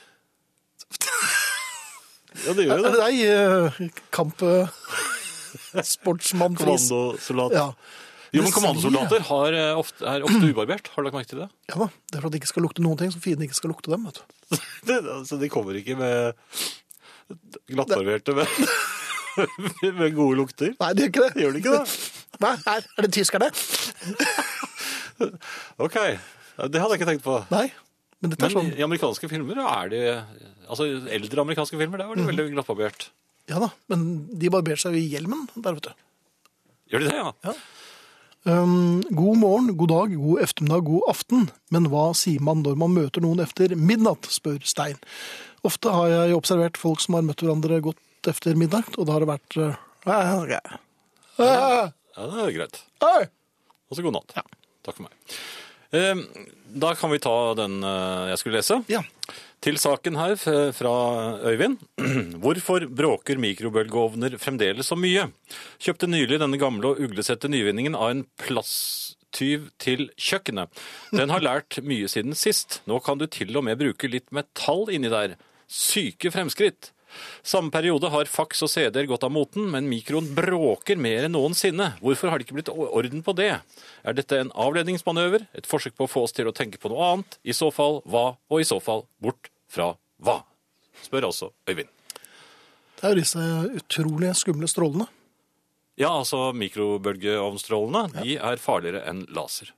[SPEAKER 2] ja, det gjør jo det.
[SPEAKER 1] Nei, eh, kamp... eh, Sportsmannpris.
[SPEAKER 2] Kommandosoldat.
[SPEAKER 1] Ja.
[SPEAKER 2] Jo,
[SPEAKER 1] Det
[SPEAKER 2] men
[SPEAKER 1] svir,
[SPEAKER 2] kommandosoldater har eh, ofte, er ofte ubarbert. Har du lagt merke til det?
[SPEAKER 1] Ja da, det er for at det ikke skal lukte noen ting, så fienden ikke skal lukte dem, vet du.
[SPEAKER 2] det altså, de kommer ikke med glattbarberte med, med gode lukter.
[SPEAKER 1] Nei, det gjør ikke det.
[SPEAKER 2] Gjør de ikke det?
[SPEAKER 1] Nei, her er det tyskerne.
[SPEAKER 2] Ok, det hadde jeg ikke tenkt på.
[SPEAKER 1] Nei, men dette er
[SPEAKER 2] Men
[SPEAKER 1] sånn.
[SPEAKER 2] i amerikanske filmer er det Altså eldre amerikanske filmer, der var det
[SPEAKER 1] Mm.
[SPEAKER 2] veldig glattbarbert.
[SPEAKER 1] Ja da, men de barberer seg jo i hjelmen der, vet du.
[SPEAKER 2] Gjør de det, ja?
[SPEAKER 1] Ja. Um, god morgen, god dag, god eftermiddag, god aften. Men hva sier man når man møter noen etter midnatt, spør Stein. Ofte har jeg observert folk som har møtt hverandre godt etter midnatt, og da har det vært eh, eh,
[SPEAKER 2] Ja, det er greit.
[SPEAKER 1] eh,
[SPEAKER 2] Og så god natt. Takk for meg. Eh, Da kan vi ta den eh, jeg skulle lese.
[SPEAKER 1] eh. Ja.
[SPEAKER 2] Til saken her f- fra Øyvind. Hvorfor bråker mikrobølgeovner fremdeles så mye? Kjøpte nylig denne gamle og uglesette nyvinningen av en plasttyv til kjøkkenet. Den har lært mye siden sist. Nå kan du til og med bruke litt metall inni der. Syke fremskritt. Samme periode har fax og CD-er gått av moten, men mikroen bråker mer enn noensinne. Hvorfor har det ikke blitt orden på det? Er dette en avledningsmanøver? Et forsøk på å få oss til å tenke på noe annet? I så fall hva, og i så fall bort fra hva? Spør altså Øyvind.
[SPEAKER 1] Det er jo disse utrolig skumle strålene.
[SPEAKER 2] Ja, altså mikrobølgeovnstrålene, de er farligere enn laser.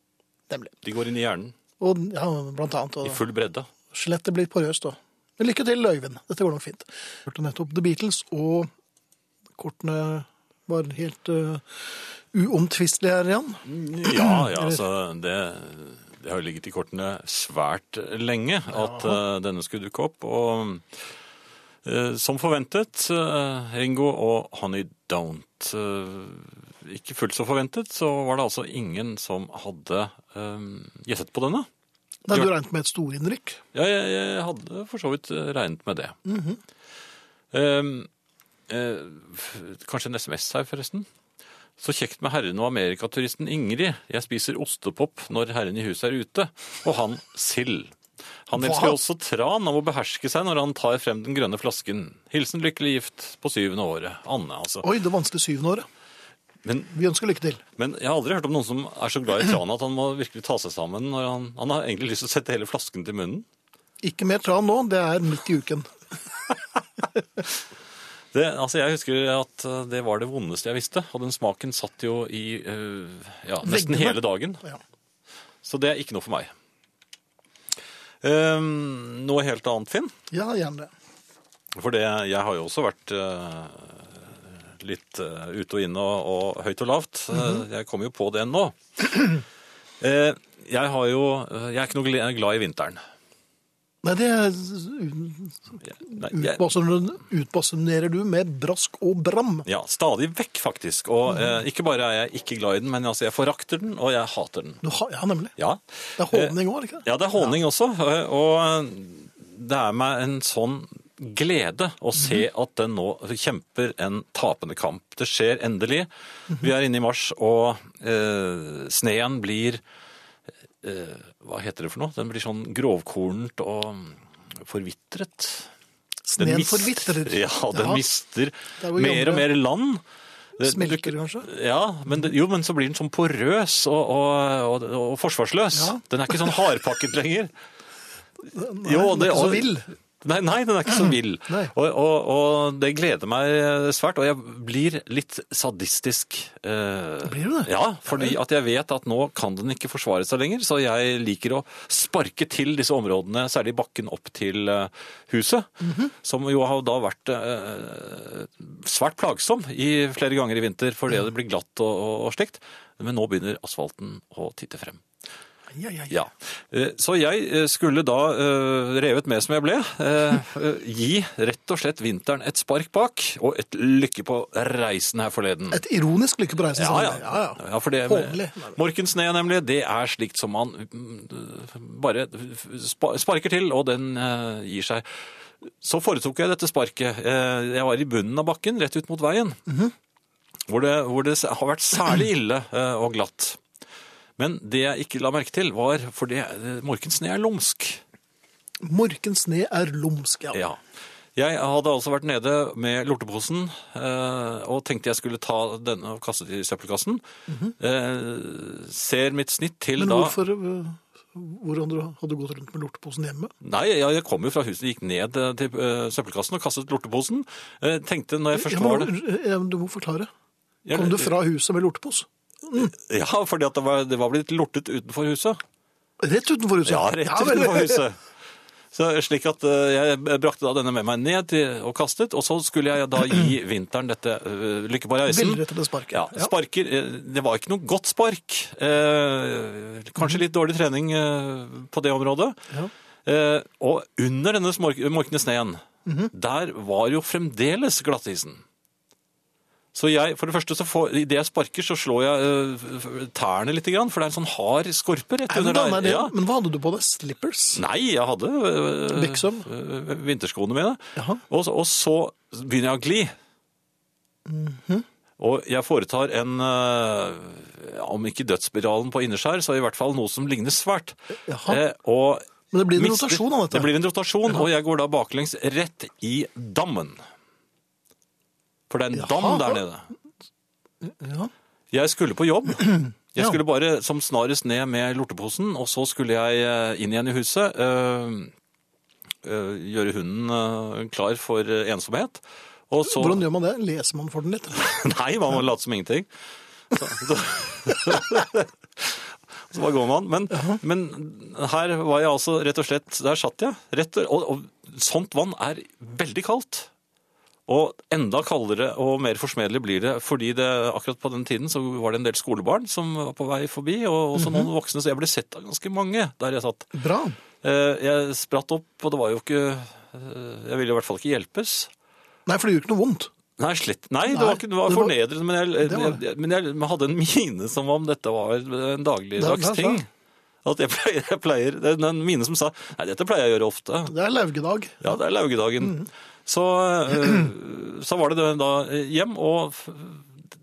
[SPEAKER 1] Nemlig.
[SPEAKER 2] De går inn i hjernen
[SPEAKER 1] Og ja, blant annet.
[SPEAKER 2] i
[SPEAKER 1] Og
[SPEAKER 2] full bredde.
[SPEAKER 1] skjelettet blir porøst òg. Men lykke til, Øyvind. Dette går nok fint. Hørte nettopp The Beatles, og kortene var helt eh, uomtvistelige her igjen.
[SPEAKER 2] Ja, ja, altså det, det har jo ligget i kortene svært lenge at eh, denne skulle dukke opp. Og eh, som forventet, eh, Ringo og Honey Don't. eh, ikke fullt så forventet, så var det altså ingen som hadde eh, gjettet på denne.
[SPEAKER 1] Nei, du regnet med et storinnrykk.
[SPEAKER 2] Ja, jeg, jeg hadde for så vidt eh, regnet med det.
[SPEAKER 1] Mhm.
[SPEAKER 2] Ehm, eh, f- kanskje en SMS her, forresten. Så kjekt med herren og amerikaturisten Ingrid. Jeg spiser ostepop når herren i huset er ute, og han sild. Han elsker
[SPEAKER 1] Hva?
[SPEAKER 2] også tran og må beherske seg når han tar frem den grønne flasken. Hilsen lykkelig gift på syvende året. Anne, altså.
[SPEAKER 1] Oi, det vanskelige syvende året.
[SPEAKER 2] Men,
[SPEAKER 1] Vi ønsker lykke til.
[SPEAKER 2] men jeg har aldri hørt om noen som er så glad i tran at han må virkelig ta seg sammen når han Han har egentlig lyst til å sette hele flasken til munnen.
[SPEAKER 1] Ikke mer tran nå, det er midt i uken.
[SPEAKER 2] Det, altså jeg husker at eh, det var det vondeste jeg visste, og den smaken satt jo i eh, ja, nesten
[SPEAKER 1] Veggene.
[SPEAKER 2] hele dagen.
[SPEAKER 1] Ja.
[SPEAKER 2] Så det er ikke noe for meg. Ehm, noe helt annet, Finn.
[SPEAKER 1] Ja, gjerne det.
[SPEAKER 2] For det, jeg har jo også vært eh, litt eh, ute og inne og, og høyt og lavt. Eh, Jeg kommer jo på det nå. Eh, jeg, har jo, eh, jeg er ikke noe gl- glad i vinteren.
[SPEAKER 1] Nei, det
[SPEAKER 2] Nei, jeg,
[SPEAKER 1] utbasunerer utbasunerer du med brask og bram.
[SPEAKER 2] Ja, stadig vekk faktisk. Og eh, ikke bare er jeg ikke glad i den, men altså, jeg forakter den, og jeg hater den.
[SPEAKER 1] Du har, ja, nemlig.
[SPEAKER 2] Ja,
[SPEAKER 1] Det er håning òg, ikke det?
[SPEAKER 2] ja det er håning også, eh, og det er meg en sånn glede å se
[SPEAKER 1] Mhm.
[SPEAKER 2] at den nå kjemper en tapende kamp. Det skjer endelig. Vi er inne i mars, og eh, sneen blir eh, Hva heter det for noe? Den blir sånn grovkornet og forvitret. Den
[SPEAKER 1] Sneen
[SPEAKER 2] mist-
[SPEAKER 1] forvitrer.
[SPEAKER 2] Ja, den
[SPEAKER 1] Ja.
[SPEAKER 2] mister
[SPEAKER 1] er hvor
[SPEAKER 2] mer og
[SPEAKER 1] gamle-
[SPEAKER 2] mer land. Det-
[SPEAKER 1] Smelter,
[SPEAKER 2] du-
[SPEAKER 1] kanskje?
[SPEAKER 2] Ja, men, det- jo, men så blir den sånn porøs og, og, og, og forsvarsløs.
[SPEAKER 1] Ja.
[SPEAKER 2] Den er ikke sånn hardpakket lenger.
[SPEAKER 1] Nei, den er ikke så vill.
[SPEAKER 2] Nei, nei, den er ikke så vill.
[SPEAKER 1] Nei.
[SPEAKER 2] Og, og, og det gleder meg svært, og jeg blir litt sadistisk. eh,
[SPEAKER 1] Blir du det?
[SPEAKER 2] Ja, fordi at jeg vet at nå kan den ikke forsvare seg lenger, så jeg liker å sparke til disse områdene, særlig bakken opp til eh, huset,
[SPEAKER 1] Mhm.
[SPEAKER 2] som jo har da vært eh, svært plagsom i flere ganger i vinter, fordi det blir glatt og, og, og slikt. Men nå begynner asfalten å titte frem.
[SPEAKER 1] Ja, ja, ja.
[SPEAKER 2] Ja. Eh, Så jeg eh, skulle da, eh, revet med som jeg ble, eh, eh, gi rett og slett vinteren et spark bak, og et lykke på reisen her forleden.
[SPEAKER 1] Et ironisk lykke på reisen.
[SPEAKER 2] Ja,
[SPEAKER 1] sa
[SPEAKER 2] ja.
[SPEAKER 1] han. ja, ja.
[SPEAKER 2] ja for det,
[SPEAKER 1] Hånlig.
[SPEAKER 2] Morkensne, nemlig, det er slikt som man mm, bare spa- sparker til, og den eh, gir seg. Så foretok jeg dette sparket. Eh, jeg var i bunnen av bakken, rett ut mot veien, hvor, det, hvor det har vært særlig ille eh, og glatt. Men det jeg ikke la merke til, var For det, Morkensne er lumsk.
[SPEAKER 1] Morkens sne er lumsk, ja.
[SPEAKER 2] Ja. Jeg hadde altså vært nede med lorteposen eh, og tenkte jeg skulle ta denne og kaste det i søppelkassen. eh, ser mitt snitt til
[SPEAKER 1] Men
[SPEAKER 2] da
[SPEAKER 1] hvorfor øh, Hvordan hadde du gått rundt med lorteposen hjemme?
[SPEAKER 2] Nei, jeg, jeg kom jo fra huset, gikk ned eh, til eh, søppelkassen og kastet lorteposen. Eh, tenkte når jeg først
[SPEAKER 1] Ja,
[SPEAKER 2] var
[SPEAKER 1] men,
[SPEAKER 2] det
[SPEAKER 1] ja, men du må forklare.
[SPEAKER 2] Ja,
[SPEAKER 1] Kom du fra huset med lortepose?
[SPEAKER 2] Ja, fordi at det var, det var blitt lortet utenfor huset.
[SPEAKER 1] Rett utenfor huset?
[SPEAKER 2] Ja, rett
[SPEAKER 1] vel.
[SPEAKER 2] utenfor huset. Så slik at eh, jeg brakte da denne med meg ned til, og kastet, og så skulle jeg da gi vinteren dette eh, lykke på reisen.
[SPEAKER 1] Velrettede sparket.
[SPEAKER 2] Ja,
[SPEAKER 1] Ja.
[SPEAKER 2] sparker. eh, Det var ikke noe godt spark. Eh, kanskje litt dårlig trening eh, på det området.
[SPEAKER 1] Mhm. Ja.
[SPEAKER 2] Eh, og under denne smork- morkne sneen,
[SPEAKER 1] Mhm.
[SPEAKER 2] der var jo fremdeles glattisen. Så jeg, for det første, så får, i det jeg sparker, så slår jeg eh, f- f- tærne litt, grann, for det er en sånn hard skorpe rett
[SPEAKER 1] Nei, men, da,
[SPEAKER 2] under
[SPEAKER 1] nei,
[SPEAKER 2] der.
[SPEAKER 1] det,
[SPEAKER 2] Ja.
[SPEAKER 1] men hva hadde du på deg? Slippers?
[SPEAKER 2] Nei, jeg hadde øh,
[SPEAKER 1] Beksøm?
[SPEAKER 2] øh, vinterskoene mine.
[SPEAKER 1] Jaha.
[SPEAKER 2] Og, så- og så begynner jeg å gli.
[SPEAKER 1] Mhm.
[SPEAKER 2] Og jeg foretar en, øh, ja, om ikke dødsspiralen på innerskjær, så i hvert fall noe som ligner svært.
[SPEAKER 1] Jaha.
[SPEAKER 2] Eh, og
[SPEAKER 1] Men det blir en
[SPEAKER 2] mister-
[SPEAKER 1] rotasjon av dette.
[SPEAKER 2] Det blir en rotasjon, og jeg går da baklengs rett i dammen. For det er en dam
[SPEAKER 1] Jaha.
[SPEAKER 2] der nede. Mm.
[SPEAKER 1] Ja.
[SPEAKER 2] Jeg skulle på jobb. Jeg
[SPEAKER 1] Ja.
[SPEAKER 2] skulle bare som snarest ned med lorteposen, og så skulle jeg eh, inn igjen i huset. eh, eh, gjøre hunden eh, klar for eh, ensomhet. Og så
[SPEAKER 1] Hvordan gjør man det? Leser man for den litt?
[SPEAKER 2] Nei, man må late som ingenting. Så, så, så bare går man. Men, men her var jeg altså rett og slett Der satt jeg. Rett, og, og sånt vann er veldig kaldt. Og enda kaldere og mer forsmedelig blir det, fordi det, akkurat på den tiden så var det en del skolebarn som var på vei forbi, og også noen voksne, så jeg ble sett av ganske mange der jeg satt.
[SPEAKER 1] Bra.
[SPEAKER 2] Eh, Jeg spratt opp, og det var jo ikke eh, Jeg ville i hvert fall ikke hjelpes.
[SPEAKER 1] Nei, for det gjør ikke noe vondt.
[SPEAKER 2] Nei, slett. Nei, det
[SPEAKER 1] Nei,
[SPEAKER 2] var, ikke, det var
[SPEAKER 1] det var-
[SPEAKER 2] fornedrende, men jeg,
[SPEAKER 1] det var det.
[SPEAKER 2] jeg, men jeg hadde en mine som om dette var en dagligdags
[SPEAKER 1] Det er bra.
[SPEAKER 2] ting. At jeg pleier, jeg pleier, det er en mine som sa Nei, dette pleier jeg å gjøre ofte.
[SPEAKER 1] Det er laugedag.
[SPEAKER 2] Ja, det er laugedagen.
[SPEAKER 1] Mm.
[SPEAKER 2] Så, øh, så var det det da hjem, og f-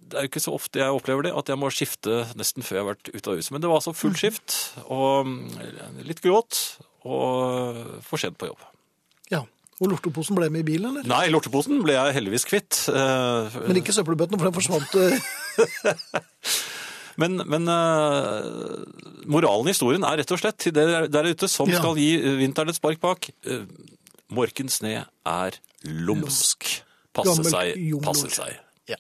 [SPEAKER 2] det er jo ikke så ofte jeg opplever det, at jeg må skifte nesten før jeg har vært ute av huset. Men det var altså
[SPEAKER 1] Mm.
[SPEAKER 2] full skift, og mm, litt gråt, og for sent på jobb.
[SPEAKER 1] Ja. Og lorteposen ble med i bilen, eller?
[SPEAKER 2] Nei, lorteposen ble jeg heldigvis kvitt. eh,
[SPEAKER 1] Men ikke søppelbøttene, for den forsvant. eh,
[SPEAKER 2] Men, men eh, moralen i historien er rett og slett til dere der ute som
[SPEAKER 1] Ja.
[SPEAKER 2] skal gi eh, vinteren et spark bak. Uh, Morken sne er lumsk. Passe
[SPEAKER 1] Gammelt
[SPEAKER 2] seg,
[SPEAKER 1] jungelord.
[SPEAKER 2] passe seg.
[SPEAKER 1] Ja.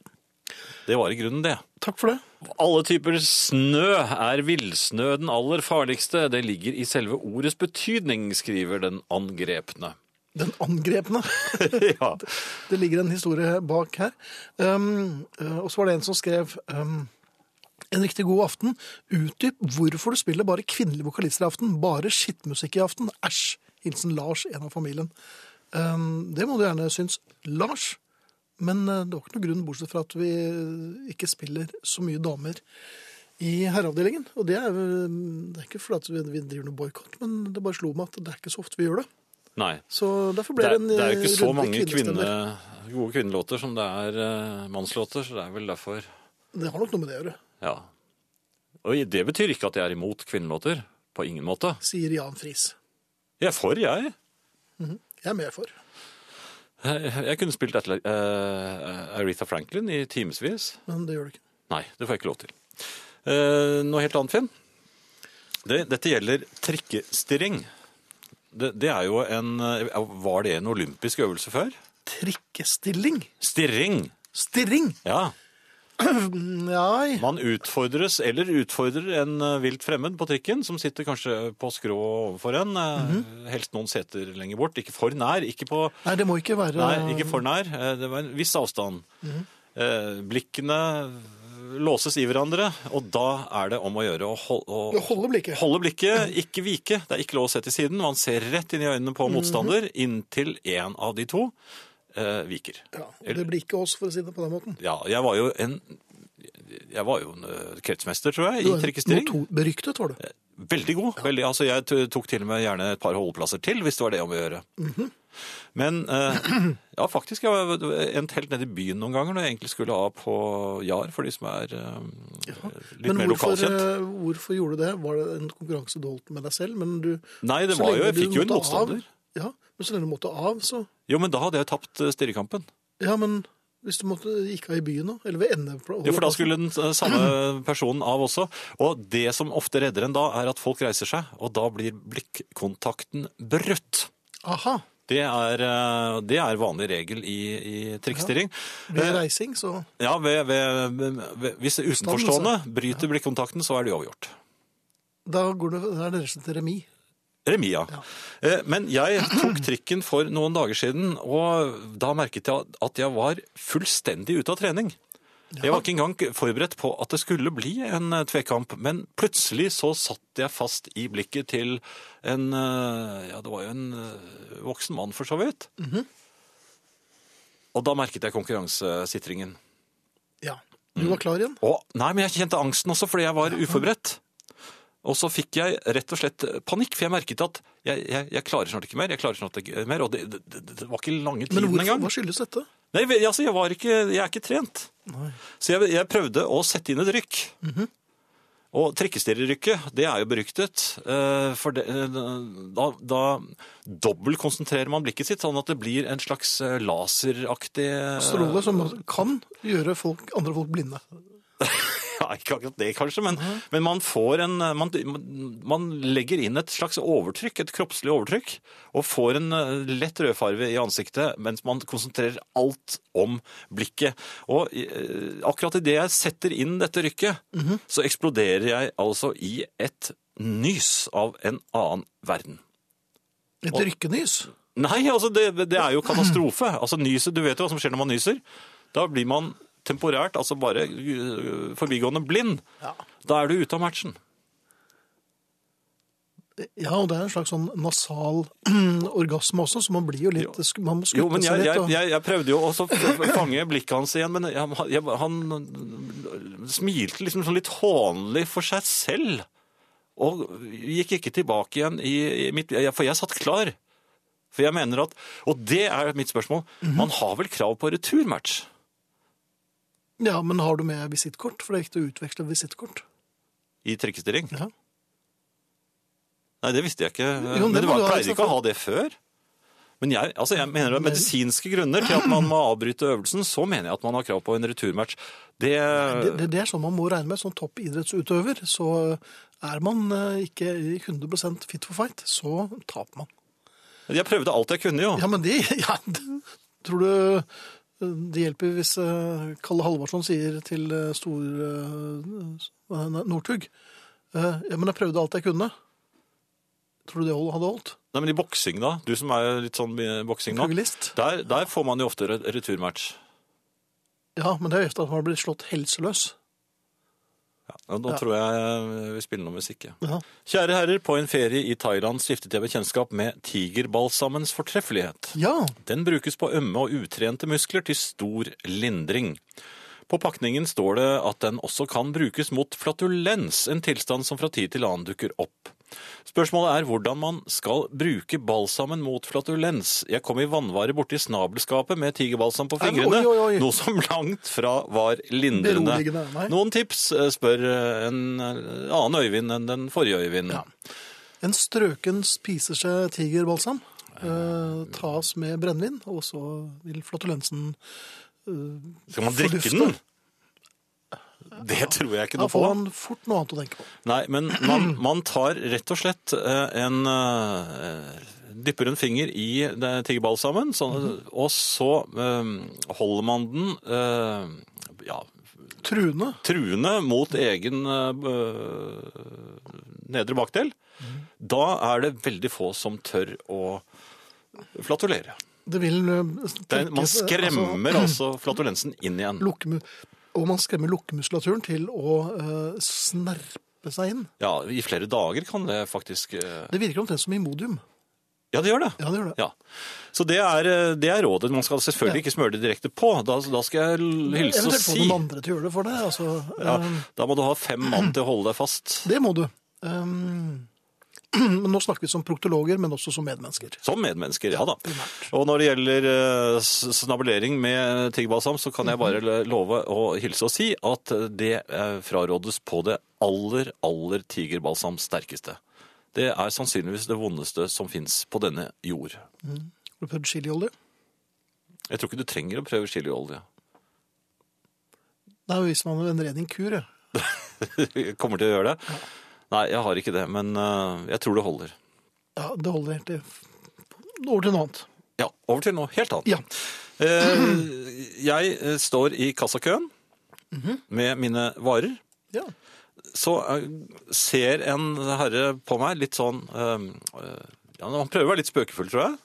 [SPEAKER 2] Det var i grunnen det.
[SPEAKER 1] Takk for det.
[SPEAKER 2] Alle typer snø er villsnø den aller farligste. Det ligger i selve ordets betydning, skriver den angrepne.
[SPEAKER 1] Den angrepne.
[SPEAKER 2] ja.
[SPEAKER 1] Det ligger en historie bak her. Um, eh, og så var det en som skrev um, En riktig god aften. Utdyp hvorfor du spiller bare kvinnelige vokalister i aften. Bare skittmusikk i aften. Æsj. Hilsen Lars, en av familien. Um, det må du gjerne synes, Lars. Men eh, det var ikke noen grunn, bortsett fra at vi ikke spiller så mye damer i herreavdelingen. Og det er, eh, det er ikke fordi at vi, vi driver noe boikott, men det bare slo meg at det er ikke så ofte vi gjør det.
[SPEAKER 2] Nei.
[SPEAKER 1] Så derfor
[SPEAKER 2] Det
[SPEAKER 1] ble
[SPEAKER 2] er,
[SPEAKER 1] det, en
[SPEAKER 2] det er jo ikke
[SPEAKER 1] eh,
[SPEAKER 2] så
[SPEAKER 1] runde
[SPEAKER 2] mange
[SPEAKER 1] kvinnestemmer.
[SPEAKER 2] kvinne, gode kvinnelåter som det er eh, mannslåter, så det er vel derfor
[SPEAKER 1] Det har nok noe med det å gjøre,
[SPEAKER 2] Ja. Og det betyr ikke at jeg er imot kvinnelåter. På ingen måte.
[SPEAKER 1] sier Jan Friis.
[SPEAKER 2] Jeg er for, jeg.
[SPEAKER 1] Jeg er med for.
[SPEAKER 2] Jeg, jeg kunne spilt et, eh, Aretha Franklin i timevis.
[SPEAKER 1] Men det gjør det ikke.
[SPEAKER 2] Nei, det får jeg ikke lov til. Eh, noe helt annet, Finn. Det, dette gjelder trikkestirring. Det, det er jo en eh, Var det en olympisk øvelse før?
[SPEAKER 1] Trikkestilling?
[SPEAKER 2] Stirring!
[SPEAKER 1] Stirring?
[SPEAKER 2] Ja.
[SPEAKER 1] Nei.
[SPEAKER 2] Man utfordres eller utfordrer en eh, vilt fremmed på trikken, som sitter kanskje på skrå overfor en. eh,
[SPEAKER 1] Mhm.
[SPEAKER 2] Helst noen seter lenger bort. Ikke for nær. Ikke på
[SPEAKER 1] Nei, det må ikke være
[SPEAKER 2] Nei, ikke for nær. Eh, Det var en viss avstand.
[SPEAKER 1] Mhm.
[SPEAKER 2] Eh, Blikkene låses i hverandre, og da er det om å gjøre å hol- å
[SPEAKER 1] Holde blikket.
[SPEAKER 2] holde blikket, ikke vike. Det er ikke lov å se til siden. Man ser rett inn i øynene
[SPEAKER 1] Mhm.
[SPEAKER 2] på motstander inntil en av de to eh, viker.
[SPEAKER 1] Ja, og det blir ikke oss, for å si det på den måten.
[SPEAKER 2] Ja, jeg var jo en jeg var jo en eh, kretsmester, tror jeg,
[SPEAKER 1] Du er
[SPEAKER 2] i trikkestilling. Eh,
[SPEAKER 1] noto- Beryktet var du.
[SPEAKER 2] Veldig god. Veldig, altså jeg t- tok til og med gjerne et par holdeplasser til, hvis det var det om å gjøre.
[SPEAKER 1] Mhm.
[SPEAKER 2] Men eh, ja, faktisk, jeg var- endt helt nede i byen noen ganger når jeg egentlig skulle av på JAR, for de som er eh, litt
[SPEAKER 1] Men
[SPEAKER 2] mer
[SPEAKER 1] hvorfor,
[SPEAKER 2] lokalkjent.
[SPEAKER 1] eh, hvorfor gjorde du det? Var det en konkurranse du holdt med deg selv? Men du,
[SPEAKER 2] Nei, det
[SPEAKER 1] så
[SPEAKER 2] var jo,
[SPEAKER 1] lenge
[SPEAKER 2] jeg
[SPEAKER 1] du
[SPEAKER 2] fikk jo en
[SPEAKER 1] måtte av-
[SPEAKER 2] motstander.
[SPEAKER 1] Ja, men så lenge du måtte av, så
[SPEAKER 2] Jo, men da hadde jeg tapt eh, stirrekampen.
[SPEAKER 1] Ja, men hvis du måtte, gikk av i byen nå? Eller ved endeplassen?
[SPEAKER 2] Jo, for da skulle den eh, samme personen av også. Og det som ofte redder en da, er at folk reiser seg, og da blir blikkontakten brutt.
[SPEAKER 1] Aha.
[SPEAKER 2] Det er, eh, det er vanlig regel i, i trikkestirring.
[SPEAKER 1] Ved
[SPEAKER 2] Eh,
[SPEAKER 1] reising, så
[SPEAKER 2] Ja, ved, ved, ved, hvis utenforstående bryter blikkontakten, så er det uavgjort.
[SPEAKER 1] Da går det, da er det rett og slett remis.
[SPEAKER 2] Remis, ja. Eh, Men jeg tok trikken for noen dager siden, og da merket jeg at jeg var fullstendig ute av trening. Jeg var ikke engang forberedt på at det skulle bli en eh, tvekamp, men plutselig så satt jeg fast i blikket til en eh, Ja, det var jo en eh, voksen mann, for så vidt. Og da merket jeg konkurransesitringen.
[SPEAKER 1] Ja. Du
[SPEAKER 2] Mm.
[SPEAKER 1] var klar igjen?
[SPEAKER 2] Og, nei, men jeg kjente angsten også, fordi jeg var uforberedt. Og så fikk jeg rett og slett panikk, for jeg merket at jeg, jeg, jeg klarer snart ikke mer. jeg klarer snart ikke mer, Og det, det, det det var ikke lange
[SPEAKER 1] Men
[SPEAKER 2] tiden
[SPEAKER 1] hvorfor,
[SPEAKER 2] engang.
[SPEAKER 1] hva skyldes dette?
[SPEAKER 2] Nei, vel, altså, jeg, var ikke, jeg er ikke trent.
[SPEAKER 1] Nei. Mhm.
[SPEAKER 2] Så jeg, jeg prøvde å sette inn et rykk. Og trikkestirrerykket, det er jo beryktet. eh, For det, eh, da, da dobbeltkonsentrerer man blikket sitt, sånn at det blir en slags eh, laseraktig eh,
[SPEAKER 1] Stråle som kan gjøre folk, andre folk blinde.
[SPEAKER 2] Ja, ikke akkurat det kanskje, men, men man får en man, man legger inn et slags overtrykk, et kroppslig overtrykk, og får en eh, lett rødfarve i ansiktet mens man konsentrerer alt om blikket. Og eh, akkurat i det jeg setter inn dette rykket, så eksploderer jeg altså i et nys av en annen verden.
[SPEAKER 1] Et rykkenys.
[SPEAKER 2] Nei, altså det, det er jo katastrofe. Altså nyset, Du vet jo hva som skjer når man nyser. Da blir man temporært, altså bare øh, forbigående blind.
[SPEAKER 1] Ja.
[SPEAKER 2] Da er du ute av matchen.
[SPEAKER 1] Ja, og det er en slags sånn nasal orgasme også, så man blir jo litt sk- Man må
[SPEAKER 2] Jo,
[SPEAKER 1] skutte
[SPEAKER 2] men
[SPEAKER 1] seg
[SPEAKER 2] jeg,
[SPEAKER 1] litt.
[SPEAKER 2] jeg,
[SPEAKER 1] Og,
[SPEAKER 2] jeg, jeg prøvde jo også å f- fange blikket hans igjen, men jeg, jeg, han smilte liksom sånn litt hånlig for seg selv. Og gikk ikke tilbake igjen i, i mitt jeg- For jeg satt klar. For jeg mener at Og det er mitt spørsmål. Man har vel krav på returmatch?
[SPEAKER 1] ja, men har du med visittkort? For det er viktig å utveksle visittkort.
[SPEAKER 2] i trikkestilling?
[SPEAKER 1] Ja.
[SPEAKER 2] Nei, det visste jeg ikke.
[SPEAKER 1] det
[SPEAKER 2] men det
[SPEAKER 1] må
[SPEAKER 2] var,
[SPEAKER 1] du ha,
[SPEAKER 2] pleier ikke å ha det før. Men jeg, altså jeg mener det er medisinske grunner til at man må avbryte øvelsen, så mener jeg at man har krav på en returmatch. Det,
[SPEAKER 1] Det, det, det er sånn man må regne med. Som toppidrettsutøver så er man eh, ikke 100 fit for fight, så taper man.
[SPEAKER 2] Jeg prøvde alt jeg kunne, jo.
[SPEAKER 1] Ja, men det ja, det- Tror du eh, det hjelper hvis eh, Kalle Halvorsson sier til eh, Stor eh, nei, Northug eh, Ja, men jeg prøvde alt jeg kunne. Tror du det hold- hadde holdt?
[SPEAKER 2] Nei, men i boksing, da. Du som er litt sånn i boksing nå.
[SPEAKER 1] Pugilist?
[SPEAKER 2] Der, der får man jo ofte re- returmatch.
[SPEAKER 1] Ja, men det er jo efter at man har blitt slått helseløs.
[SPEAKER 2] Ja, og nå
[SPEAKER 1] Ja.
[SPEAKER 2] tror jeg eh, vi spiller noe musikk, ja.
[SPEAKER 1] Ja.
[SPEAKER 2] Kjære herrer, på en ferie i Thailand stiftet jeg bekjentskap med tigerbalsamens fortreffelighet.
[SPEAKER 1] ja.
[SPEAKER 2] Den brukes på ømme og utrente muskler til stor lindring. På pakningen står det at den også kan brukes mot flatulens, en tilstand som fra tid til annen dukker opp. Spørsmålet er hvordan man skal bruke balsamen mot flatulens. Jeg kom i vanvare borti snabelskapet med tigerbalsam på
[SPEAKER 1] Nei, men
[SPEAKER 2] fingrene,
[SPEAKER 1] oi, oi, oi.
[SPEAKER 2] noe som langt fra var lindrende.
[SPEAKER 1] Beroligende, nei.
[SPEAKER 2] Noen tips, eh, spør eh, en eh, annen Øyvind enn den forrige Øyvind.
[SPEAKER 1] En strøken spiser seg tigerbalsam, eh, tas med brennevin, og så vil flatulensen
[SPEAKER 2] Skal man drikke den?
[SPEAKER 1] Fordufte.
[SPEAKER 2] Det tror jeg ikke
[SPEAKER 1] Da
[SPEAKER 2] noe på.
[SPEAKER 1] får man fort noe annet å tenke på.
[SPEAKER 2] Nei, men man, man tar rett og slett eh, en eh, Dypper en finger i det tigerbalsamen, sånn, og så eh, holder man den eh, ja,
[SPEAKER 1] Truende.
[SPEAKER 2] truende mot egen eh, nedre bakdel. Da er det veldig få som tør å flatulere.
[SPEAKER 1] Det vil eh,
[SPEAKER 2] Det er, man
[SPEAKER 1] trekkes, eh,
[SPEAKER 2] skremmer altså flatulensen inn igjen.
[SPEAKER 1] lukkemu- og man skremmer lukkemuskulaturen til å eh, snerpe seg inn.
[SPEAKER 2] Ja, I flere dager kan det faktisk eh,
[SPEAKER 1] Det virker omtrent som Imodium.
[SPEAKER 2] Ja, det gjør det.
[SPEAKER 1] Ja, det gjør det.
[SPEAKER 2] Ja. Så det er, eh, det er rådet. Man skal selvfølgelig ikke smøre det direkte på. Da, da skal jeg l- hilse og
[SPEAKER 1] Eventuelt få
[SPEAKER 2] si.
[SPEAKER 1] noen andre til å gjøre det for deg. Altså,
[SPEAKER 2] Ja,
[SPEAKER 1] eh,
[SPEAKER 2] da må du ha fem mann til å holde deg fast.
[SPEAKER 1] Det må du. Um, men nå snakker vi som proktologer, men også som medmennesker.
[SPEAKER 2] Som medmennesker, ja da. Og når det gjelder eh, s- snabelering med tigerbalsam, så
[SPEAKER 1] Mhm.
[SPEAKER 2] kan jeg bare l- love å hilse og si at det eh, frarådes på det aller, aller tigerbalsam sterkeste. Det er sannsynligvis det vondeste som fins på denne jord.
[SPEAKER 1] Har du prøvd chiliolje?
[SPEAKER 2] Jeg tror ikke du trenger å prøve chiliolje.
[SPEAKER 1] Nei, hvis man en ren kur, ja.
[SPEAKER 2] Kommer til å gjøre det? Nei, jeg har ikke det, men eh, jeg tror det holder.
[SPEAKER 1] ja. Det holder helt til over til noe annet.
[SPEAKER 2] Ja, over til noe helt annet.
[SPEAKER 1] Ja.
[SPEAKER 2] Eh, jeg eh, står i kassakøen med mine varer.
[SPEAKER 1] ja.
[SPEAKER 2] så eh, ser en herre på meg litt sånn eh, eh, ja, Han prøver å være litt spøkefull, tror jeg.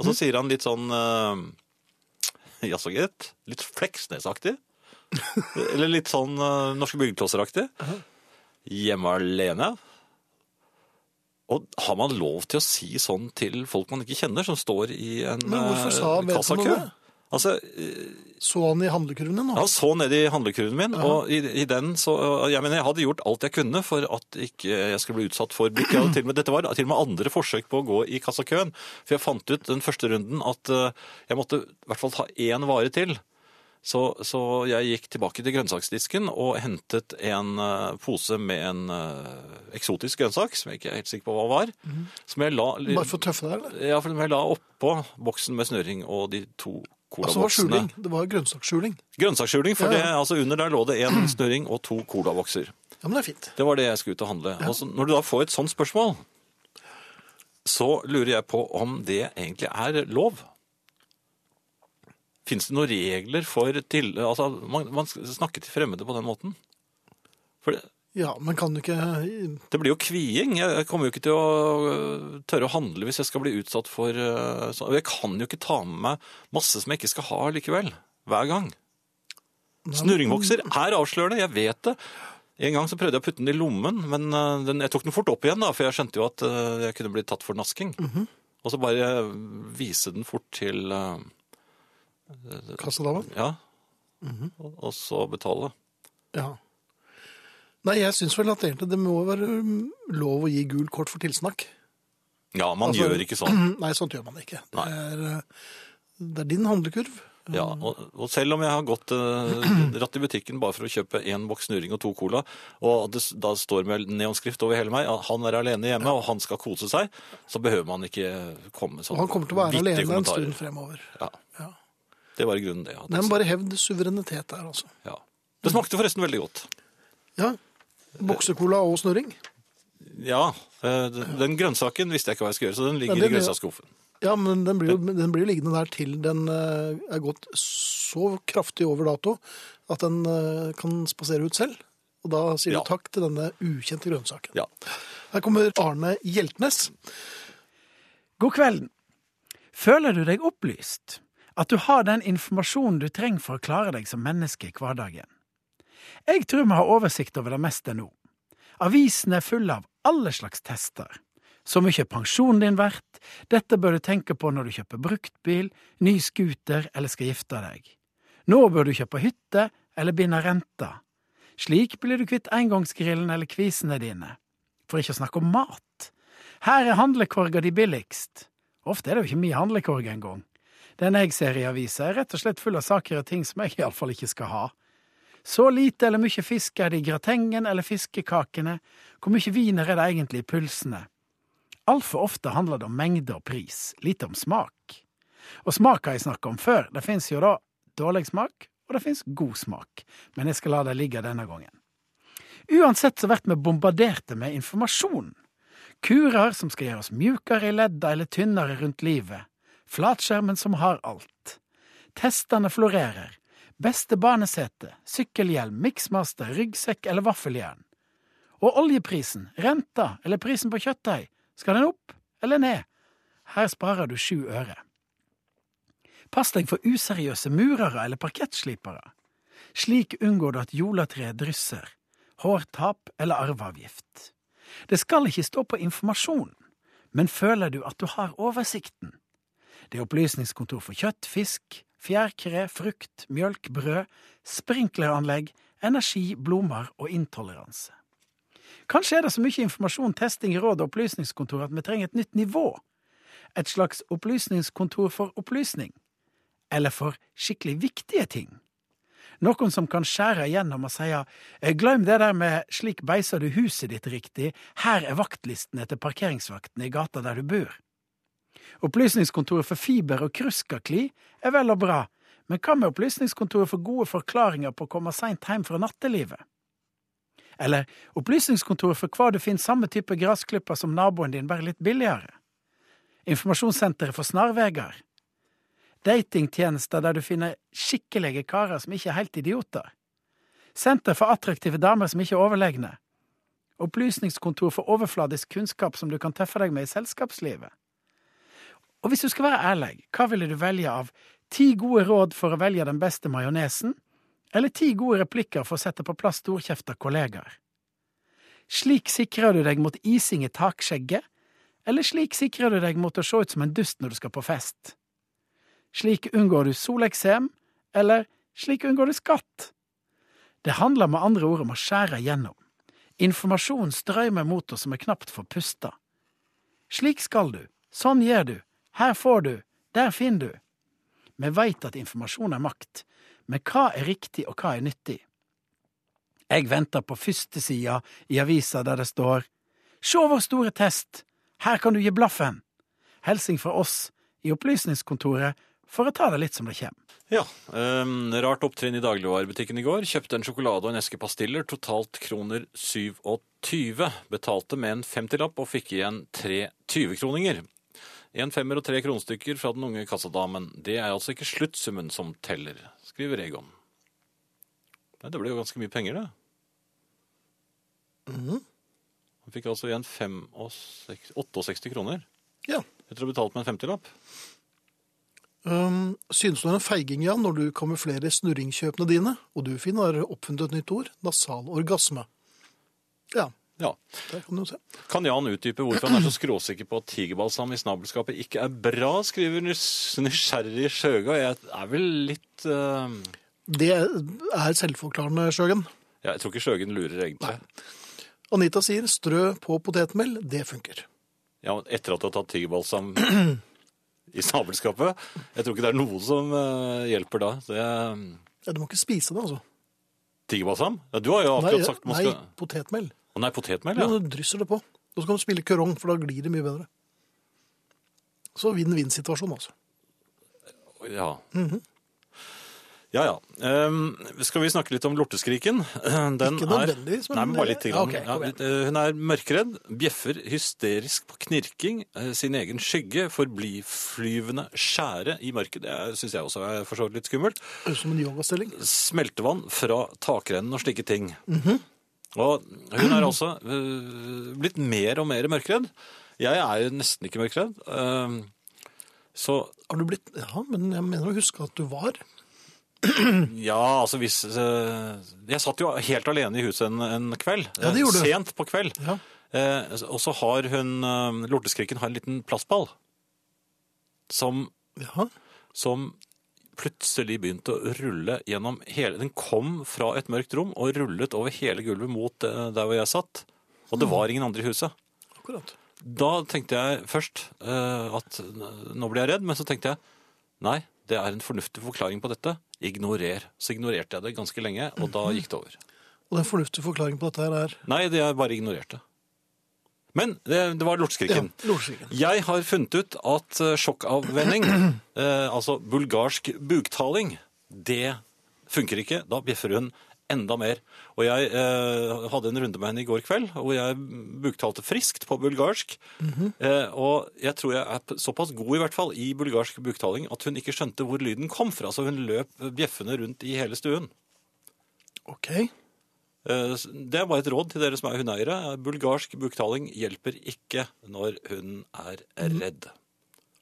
[SPEAKER 2] Og
[SPEAKER 1] Mhm.
[SPEAKER 2] så sier han litt sånn eh, Jaså, gitt. Litt Fleksnes-aktig. Eller litt sånn eh, Norske byggeklosser-aktig. Hjemme alene. Og har man lov til å si sånn til folk man ikke kjenner, som står i en
[SPEAKER 1] Men hvorfor
[SPEAKER 2] eh,
[SPEAKER 1] sa vedkommende
[SPEAKER 2] kassakø?
[SPEAKER 1] det?
[SPEAKER 2] Altså,
[SPEAKER 1] Så han i handlekurven din nå?
[SPEAKER 2] han så ned i handlekurven min, og i, i den så og Jeg mener, jeg hadde gjort alt jeg kunne for at ikke jeg skulle bli utsatt for blikk. Jeg hadde Til og med, dette var til og med andre forsøk på å gå i kassakøen. For jeg fant ut den første runden at eh, jeg måtte i hvert fall ta én vare til. Så, så jeg gikk tilbake til grønnsaksdisken og hentet en eh, pose med en eh, eksotisk grønnsak, som jeg ikke er helt sikker på hva var. Som jeg la
[SPEAKER 1] Mhm. Bare for å tøffe deg, eller?
[SPEAKER 2] Ja, for som jeg la oppå boksen med snøring og de to
[SPEAKER 1] Altså, det var
[SPEAKER 2] colaboksene.
[SPEAKER 1] skjuling. Det var grønnsaksskjuling.
[SPEAKER 2] Grønnsaksskjuling,
[SPEAKER 1] Ja,
[SPEAKER 2] for
[SPEAKER 1] ja.
[SPEAKER 2] Det, altså under der lå det en snøring og to colabokser.
[SPEAKER 1] Ja, men det er fint.
[SPEAKER 2] Det var det jeg skulle ut og handle. Og så, når du da får et sånt spørsmål, så lurer jeg på om det egentlig er lov. Fins det noen regler for til, altså, man, man skal snakke til fremmede på den måten? For det,
[SPEAKER 1] Ja, men kan du ikke
[SPEAKER 2] det blir jo kviing. Jeg kommer jo ikke til å øh, tørre å handle hvis jeg skal bli utsatt for øh, sånn. Og jeg kan jo ikke ta med meg masse som jeg ikke skal ha likevel. Hver gang. Snurringvokser er avslørende, jeg vet det. En gang så prøvde jeg å putte den i lommen, men øh, den, jeg tok den fort opp igjen, da, for jeg skjønte jo at øh, jeg kunne bli tatt for nasking. Og så bare vise den fort til øh,
[SPEAKER 1] Kassadama?
[SPEAKER 2] Ja. og, og så betale.
[SPEAKER 1] Ja. Nei, jeg syns vel at egentlig det må være um, lov å gi gul kort for tilsnakk.
[SPEAKER 2] Ja, man
[SPEAKER 1] Altså-
[SPEAKER 2] gjør ikke sånn.
[SPEAKER 1] Nei, sånt gjør man ikke.
[SPEAKER 2] Nei.
[SPEAKER 1] Det er, uh, det er din handlekurv.
[SPEAKER 2] Ja,
[SPEAKER 1] Mm.
[SPEAKER 2] og, og selv om jeg har gått eh, rett i butikken bare for å kjøpe én boks snurring og to cola, og det, s- da står med neonskrift over hele meg at han er alene hjemme og han skal kose seg, så behøver man ikke komme med
[SPEAKER 1] Og
[SPEAKER 2] sånne
[SPEAKER 1] han kommer til å være
[SPEAKER 2] vittige
[SPEAKER 1] alene en
[SPEAKER 2] kommentarer.
[SPEAKER 1] stund fremover.
[SPEAKER 2] Ja,
[SPEAKER 1] Ja.
[SPEAKER 2] det var i grunnen det. jeg hadde
[SPEAKER 1] Nei, men
[SPEAKER 2] lyst
[SPEAKER 1] bare hevd suverenitet der, altså.
[SPEAKER 2] til. Ja. Det smakte forresten veldig godt.
[SPEAKER 1] Ja. Boksecola og snurring.
[SPEAKER 2] Ja, eh, d- den grønnsaken visste jeg ikke hva jeg skulle gjøre, så den ligger
[SPEAKER 1] Ja, det
[SPEAKER 2] i
[SPEAKER 1] blir-
[SPEAKER 2] grønnsaksskuffen.
[SPEAKER 1] Ja, men den blir jo den blir jo liggende der til den eh, er gått så kraftig over dato at den eh, kan spasere ut selv. Og da sier
[SPEAKER 2] Ja.
[SPEAKER 1] du takk til denne ukjente grønnsaken.
[SPEAKER 2] Ja.
[SPEAKER 1] Her kommer Arne Hjeltnes.
[SPEAKER 4] God kvelden. Føler du deg opplyst? At du har den informasjonen du trenger for å klare deg som menneske i hverdagen? Jeg tror vi har oversikt over det meste nå. Avisen er full av alle slags tester. Så mye er pensjonen din verdt, dette bør du tenke på når du kjøper bruktbil, ny scooter eller skal gifte deg. Nå bør du kjøpe hytte eller binde renta. Slik blir du kvitt engangsgrillen eller kvisene dine. For ikke å snakke om mat. Her er handlekorga de billigst. Ofte er det jo ikke mye handlekorg engang. Den jeg ser i avisa, er rett og slett full av saker og ting som jeg iallfall ikke skal ha. Så lite eller mye fisk er det i gratengen eller fiskekakene, hvor mye viner er det egentlig i pulsene? Altfor ofte handler det om mengde og pris, lite om smak. Og smak har jeg snakka om før, det fins jo da dårlig smak, og det fins god smak, men jeg skal la det ligge denne gangen. Uansett så blir vi bombarderte med informasjon. Kurer som skal gjøre oss mjukere i ledda eller tynnere rundt livet. Flatskjermen som har alt. Testene florerer. Beste banesete, sykkelhjelm, miksmaster, ryggsekk eller vaffeljern. Og oljeprisen, renta eller prisen på kjøttdeig, skal den opp eller ned? Her sparer du sju øre. Pass deg for useriøse murere eller parkettslipere. Slik unngår du at jolatreet drysser, hårtap eller arveavgift. Det skal ikke stå på informasjon, men føler du at du har oversikten? Det er opplysningskontor for kjøtt, fisk, fjærkre, frukt, mjølk, brød, sprinkleranlegg, energi, blomster og intoleranse. Kanskje er det så mye informasjon, testing, råd og opplysningskontor at vi trenger et nytt nivå? Et slags opplysningskontor for opplysning? Eller for skikkelig viktige ting? Noen som kan skjære igjennom og si glem det der med slik beiser du huset ditt riktig, her er vaktlistene til parkeringsvaktene i gata der du bor. Opplysningskontoret for fiber og kruskakli er vel og bra, men hva med Opplysningskontoret for gode forklaringer på å komme seint hjem fra nattelivet? Eller Opplysningskontoret for hva du finner samme type gressklipper som naboen din, bare litt billigere? Informasjonssenteret for snarveier? datingtjenester der du finner skikkelige karer som ikke er helt idioter. Senter for attraktive damer som ikke er overlegne. opplysningskontor for overfladisk kunnskap som du kan tøffe deg med i selskapslivet. Og hvis du skal være ærlig, hva ville du velge av ti gode råd for å velge den beste majonesen, eller ti gode replikker for å sette på plass storkjefta kollegaer? Slik sikrer du deg mot ising i takskjegget, eller slik sikrer du deg mot å se ut som en dust når du skal på fest? Slik unngår du soleksem, eller slik unngår du skatt? Det handler med andre ord om å skjære gjennom. Informasjon strømmer mot oss som er knapt får puste. Slik skal du, sånn gjør du, her får du, der finner du. Vi veit at informasjon er makt, men hva er riktig og hva er nyttig? Jeg venter på førstesida i avisa der det står Sjå vår store test! Her kan du gi blaffen! Hilsing fra oss i Opplysningskontoret for å ta det litt som det kjem.
[SPEAKER 2] Ja, ehm, Rart opptrinn i dagligvarebutikken i går. Kjøpte en sjokolade og en eske pastiller, totalt kroner 27. Betalte med en 50-lapp og fikk igjen tre 20-kroninger. En femmer og tre kronestykker fra den unge kassadamen. Det er altså ikke sluttsummen som teller, skriver Egon. Nei, Det ble jo ganske mye penger, det. Han fikk altså igjen fem og seks- 68 kroner
[SPEAKER 1] Ja.
[SPEAKER 2] etter å ha betalt med en 50-lapp.
[SPEAKER 1] Um, synes du er en feiging, Jan, når du kamuflerer snurringkjøpene dine, og du, Finn, har oppfunnet et nytt ord, nasal orgasme. Ja,
[SPEAKER 2] Ja.
[SPEAKER 1] der kan du se.
[SPEAKER 2] Kan Jan utdype hvorfor han er så skråsikker på at tigerbalsam i snabelskapet ikke er bra, skriver nys- nysgjerrig Sjøga. Jeg er vel litt eh,
[SPEAKER 1] Det er selvforklarende, Sjøgen.
[SPEAKER 2] ja, Jeg tror ikke Sjøgen lurer, egentlig.
[SPEAKER 1] Anita sier strø på potetmel, det funker.
[SPEAKER 2] Ja, men etter at du har tatt tigerbalsam i snabelskapet. Jeg tror ikke det er noe som eh, hjelper da. Det er mm,
[SPEAKER 1] Ja, du må ikke spise det, altså.
[SPEAKER 2] tigerbalsam? Ja, du har jo akkurat sagt man
[SPEAKER 1] nei,
[SPEAKER 2] skal
[SPEAKER 1] potetmel.
[SPEAKER 2] Å nei, potetmel,
[SPEAKER 1] Ja.
[SPEAKER 2] ja.
[SPEAKER 1] Du drysser det på. Og så kan du spille kurong, for da glir det mye bedre. Så vinn-vinn-situasjon, altså.
[SPEAKER 2] Ja.
[SPEAKER 1] Mhm.
[SPEAKER 2] Ja, ja. Ehm, skal vi snakke litt om lorteskriken? Den
[SPEAKER 1] Ikke nødvendigvis,
[SPEAKER 2] er,
[SPEAKER 1] men-
[SPEAKER 2] Nei, men bare litt.
[SPEAKER 1] Ja,
[SPEAKER 2] Grann.
[SPEAKER 1] ok, kom
[SPEAKER 2] Ja,
[SPEAKER 1] igjen.
[SPEAKER 2] litt, eh, hun er mørkredd, bjeffer hysterisk på knirking, eh, sin egen skygge, forbliflyvende skjære i mørket. Det syns jeg også er for så vidt litt skummelt.
[SPEAKER 1] Høres ut Som en yogastilling.
[SPEAKER 2] Smeltevann fra takrennen og slike ting.
[SPEAKER 1] Mhm.
[SPEAKER 2] Og hun er også eh, blitt mer og mer mørkredd. Jeg er jo nesten ikke mørkredd. Ehm, så
[SPEAKER 1] Har du blitt Ja, men jeg mener å huske at du var.
[SPEAKER 2] Ja, altså hvis eh, Jeg satt jo helt alene i huset en, en kveld.
[SPEAKER 1] Ja, det gjorde du.
[SPEAKER 2] Eh, Sent på kveld.
[SPEAKER 1] Ja.
[SPEAKER 2] Eh, og så har hun eh, Lorteskriken har en liten plastball som,
[SPEAKER 1] Ja.
[SPEAKER 2] som plutselig begynte å rulle gjennom hele Den kom fra et mørkt rom og rullet over hele gulvet mot eh, der hvor jeg satt. Og det
[SPEAKER 1] Mm.
[SPEAKER 2] var ingen andre i huset.
[SPEAKER 1] Akkurat.
[SPEAKER 2] Da tenkte jeg først eh, at n- nå ble jeg redd, men så tenkte jeg nei, det er en fornuftig forklaring på dette. Ignorer. Så ignorerte jeg det ganske lenge, og da gikk det over.
[SPEAKER 1] Og den fornuftige forklaringen på dette her er
[SPEAKER 2] Nei, det jeg bare ignorerte. Men det, det var
[SPEAKER 1] ja,
[SPEAKER 2] lortskriken.
[SPEAKER 1] lortskriken.
[SPEAKER 2] Jeg har funnet ut at eh, sjokkavvenning, eh, altså bulgarsk buktaling, det funker ikke. Da bjeffer hun enda mer. Og jeg eh, hadde en runde med henne i går kveld, hvor jeg buktalte friskt på bulgarsk. eh, og jeg tror jeg er p- såpass god i hvert fall i bulgarsk buktaling at hun ikke skjønte hvor lyden kom fra, så hun løp eh, bjeffende rundt i hele stuen.
[SPEAKER 1] OK.
[SPEAKER 2] Eh, s- Det er bare et råd til dere som er hundeeiere. Bulgarsk buktaling hjelper ikke når hun er redd.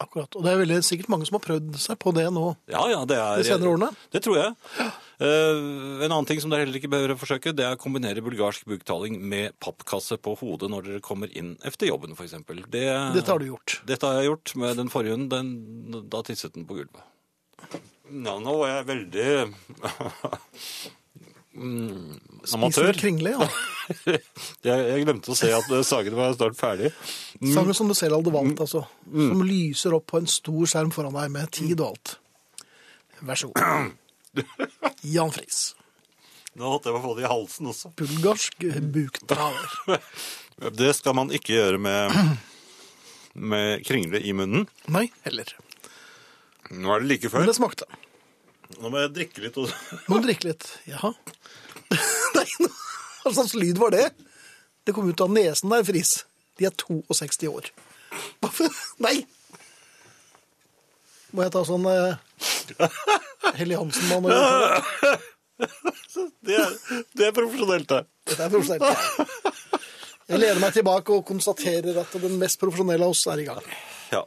[SPEAKER 1] Akkurat. Og det er veldig sikkert mange som har prøvd seg på det nå
[SPEAKER 2] Ja, ja, det er...
[SPEAKER 1] de senere årene.
[SPEAKER 2] Det tror jeg. Eh, en annen ting som dere heller ikke behøver å forsøke, det er å kombinere bulgarsk buktaling med pappkasse på hodet når dere kommer inn efter jobben, for eksempel. Det,
[SPEAKER 1] Dette har du gjort.
[SPEAKER 2] Dette har jeg gjort med den forrige hunden. Den, da tisset den på gulvet. Ja, nå er jeg veldig mm,
[SPEAKER 1] Spiser
[SPEAKER 2] amatør.
[SPEAKER 1] litt kringle, ja.
[SPEAKER 2] jeg, jeg glemte å se at eh, sagene var snart ferdig.
[SPEAKER 1] Samme som du selv hadde valgt, altså. Som lyser opp på en stor skjerm foran deg med tid og alt. Vær så god. Jan Friis.
[SPEAKER 2] Nå holdt jeg på å få det i halsen også.
[SPEAKER 1] Bulgarsk bukdrager.
[SPEAKER 2] Det skal man ikke gjøre med, med kringle i munnen.
[SPEAKER 1] Nei, heller.
[SPEAKER 2] Nå er det like
[SPEAKER 1] Men
[SPEAKER 2] før.
[SPEAKER 1] det smakte.
[SPEAKER 2] Nå må jeg drikke litt. Og...
[SPEAKER 1] Må du drikke litt. Jaha. Nei, nå- hva slags lyd var det? Det kom ut av nesen der, Friis. De er 62 år. Hva for- Nei! Må jeg ta sånn eh, Helly Hansen-mann? og- sånn?
[SPEAKER 2] Det, er, det er profesjonelt, det.
[SPEAKER 1] Dette er profesjonelt. Jeg lener meg tilbake og konstaterer at den mest profesjonelle av oss er i gang.
[SPEAKER 2] Ja.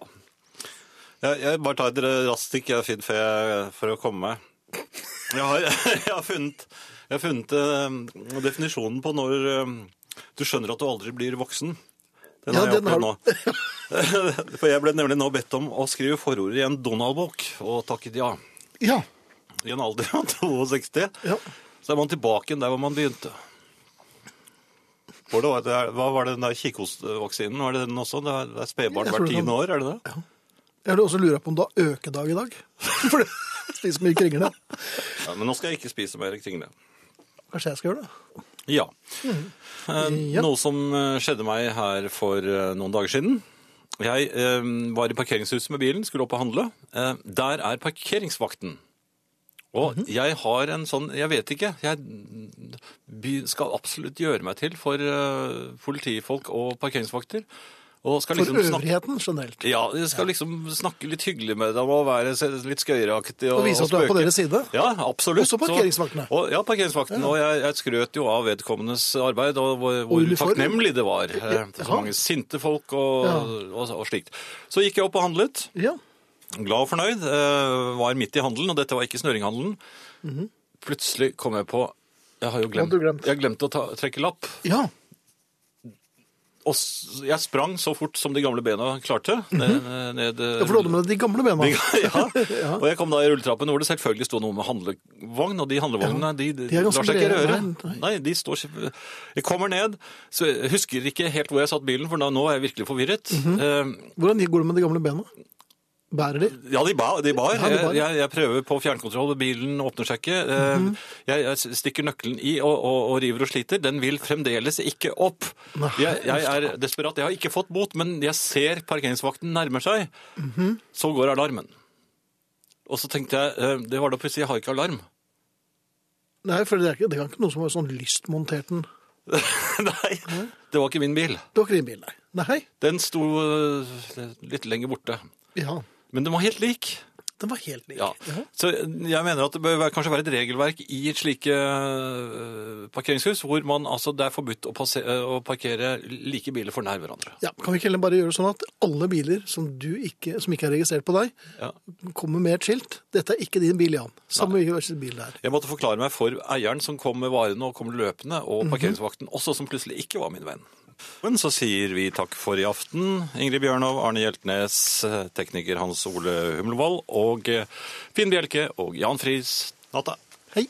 [SPEAKER 2] Jeg, jeg bare tar et raskt stikk, jeg, Finn, for, jeg, for å komme meg. Jeg har, jeg har funnet, jeg har funnet eh, definisjonen på når eh, du skjønner at du aldri blir voksen. Den
[SPEAKER 1] Ja,
[SPEAKER 2] har jeg
[SPEAKER 1] den har
[SPEAKER 2] opplevd nå. for jeg ble nemlig nå bedt om å skrive forordet i en Donald-bok, og takket ja.
[SPEAKER 1] Ja.
[SPEAKER 2] I en alder av 62.
[SPEAKER 1] Ja.
[SPEAKER 2] Så er man tilbake igjen der hvor man begynte. Hvor det var, det- hva var det den der kikkhostvaksinen? Var det den også? Det er, det er spedbarn
[SPEAKER 1] Jeg tror
[SPEAKER 2] hvert
[SPEAKER 1] det
[SPEAKER 2] tiende
[SPEAKER 1] var-
[SPEAKER 2] år, er det det?
[SPEAKER 1] Jeg vil også lure på om du har økedag i dag. For det spiser mye kringle.
[SPEAKER 2] Ja, men nå skal jeg ikke spise mer kringle.
[SPEAKER 1] Kanskje jeg skal gjøre det?
[SPEAKER 2] Ja. Eh,
[SPEAKER 1] Mm. Ja.
[SPEAKER 2] Noe som eh, skjedde meg her for eh, noen dager siden. Jeg eh, var i parkeringshuset med bilen, skulle opp og handle. Eh, der er parkeringsvakten. Og
[SPEAKER 1] Mhm.
[SPEAKER 2] jeg har en sånn Jeg vet ikke. Jeg by- skal absolutt gjøre meg til for eh, politifolk og parkeringsvakter. Og skal liksom
[SPEAKER 1] For
[SPEAKER 2] snakke
[SPEAKER 1] øvrigheten generelt.
[SPEAKER 2] ja, jeg skal liksom snakke litt hyggelig med dem og være se- litt skøyeraktig.
[SPEAKER 1] Og vise at du er på
[SPEAKER 2] spøke.
[SPEAKER 1] deres side.
[SPEAKER 2] Ja, absolutt.
[SPEAKER 1] Også parkeringsvaktene.
[SPEAKER 2] Så- Og, ja, parkeringsvaktene. Og jeg, jeg skrøt jo av vedkommendes arbeid, og hvor, hvor
[SPEAKER 1] uniform.
[SPEAKER 2] takknemlig det var. eh, til Så
[SPEAKER 1] Ja.
[SPEAKER 2] mange sinte folk og, og, og slikt. Så gikk jeg opp og handlet.
[SPEAKER 1] Ja.
[SPEAKER 2] Glad og fornøyd. eh, var midt i handelen, og dette var ikke snøringhandelen. Plutselig kom jeg på Jeg har jo glemt,
[SPEAKER 1] Mhm. hadde du glemt?
[SPEAKER 2] Jeg glemte å ta, trekke lapp.
[SPEAKER 1] ja.
[SPEAKER 2] Og s- jeg sprang så fort som de gamle bena klarte. ned, ned,
[SPEAKER 1] Mhm. Ja, For du hadde med deg de gamle bena.
[SPEAKER 2] ja. Og jeg kom da i rulletrappen hvor det selvfølgelig sto noe med handlevogn, og de handlevognene de,
[SPEAKER 1] er ganske
[SPEAKER 2] lar seg ikke
[SPEAKER 1] brede.
[SPEAKER 2] røre.
[SPEAKER 1] Nei,
[SPEAKER 2] Nei, de står ikke- Jeg kommer ned, så jeg husker ikke helt hvor jeg satt bilen, for da, nå er jeg virkelig forvirret. Eh,
[SPEAKER 1] Hvordan går det med de gamle bena? Bærer de?
[SPEAKER 2] ja, de bar. De bar.
[SPEAKER 1] de bar.
[SPEAKER 2] Jeg, jeg, jeg prøver på fjernkontroll, bilen åpner seg ikke. Eh, jeg, jeg stikker nøkkelen i og, og, og river og sliter. Den vil fremdeles ikke opp.
[SPEAKER 1] Nei.
[SPEAKER 2] Jeg, jeg er desperat. Jeg har ikke fått bot, men jeg ser parkeringsvakten nærmer seg. Så går alarmen. Og så tenkte jeg, eh, det var da plutselig, jeg har ikke alarm.
[SPEAKER 1] Nei, for det er ikke, det er ikke noen som har sånn lystmontert den.
[SPEAKER 2] Nei, det var ikke min bil.
[SPEAKER 1] Det var ikke din bil, nei. Nei.
[SPEAKER 2] Den sto eh, litt lenger borte.
[SPEAKER 1] Ja.
[SPEAKER 2] Men den var helt lik.
[SPEAKER 1] Den var helt lik.
[SPEAKER 2] Ja. Så jeg mener at det bør være- kanskje være et regelverk i et slike eh, parkeringshus, hvor man, altså, det er forbudt å, passe, eh, å parkere like biler for nær hverandre.
[SPEAKER 1] Ja, Kan vi ikke heller bare gjøre det sånn at alle biler som, du ikke, som ikke er registrert på deg,
[SPEAKER 2] Ja.
[SPEAKER 1] kommer med et skilt 'Dette er ikke din bil, Jan'. Samme hvilken bil det er.
[SPEAKER 2] Jeg måtte forklare meg for eieren som kom med varene og kom løpende, og parkeringsvakten også, som plutselig ikke var min venn. Men så sier vi takk for i aften. Ingrid Bjørnov, Arne Hjeltnes, tekniker øh, Hans Ole Humlevold og eh, Finn Bjelke og Jan Friis. Natta.
[SPEAKER 1] Hei.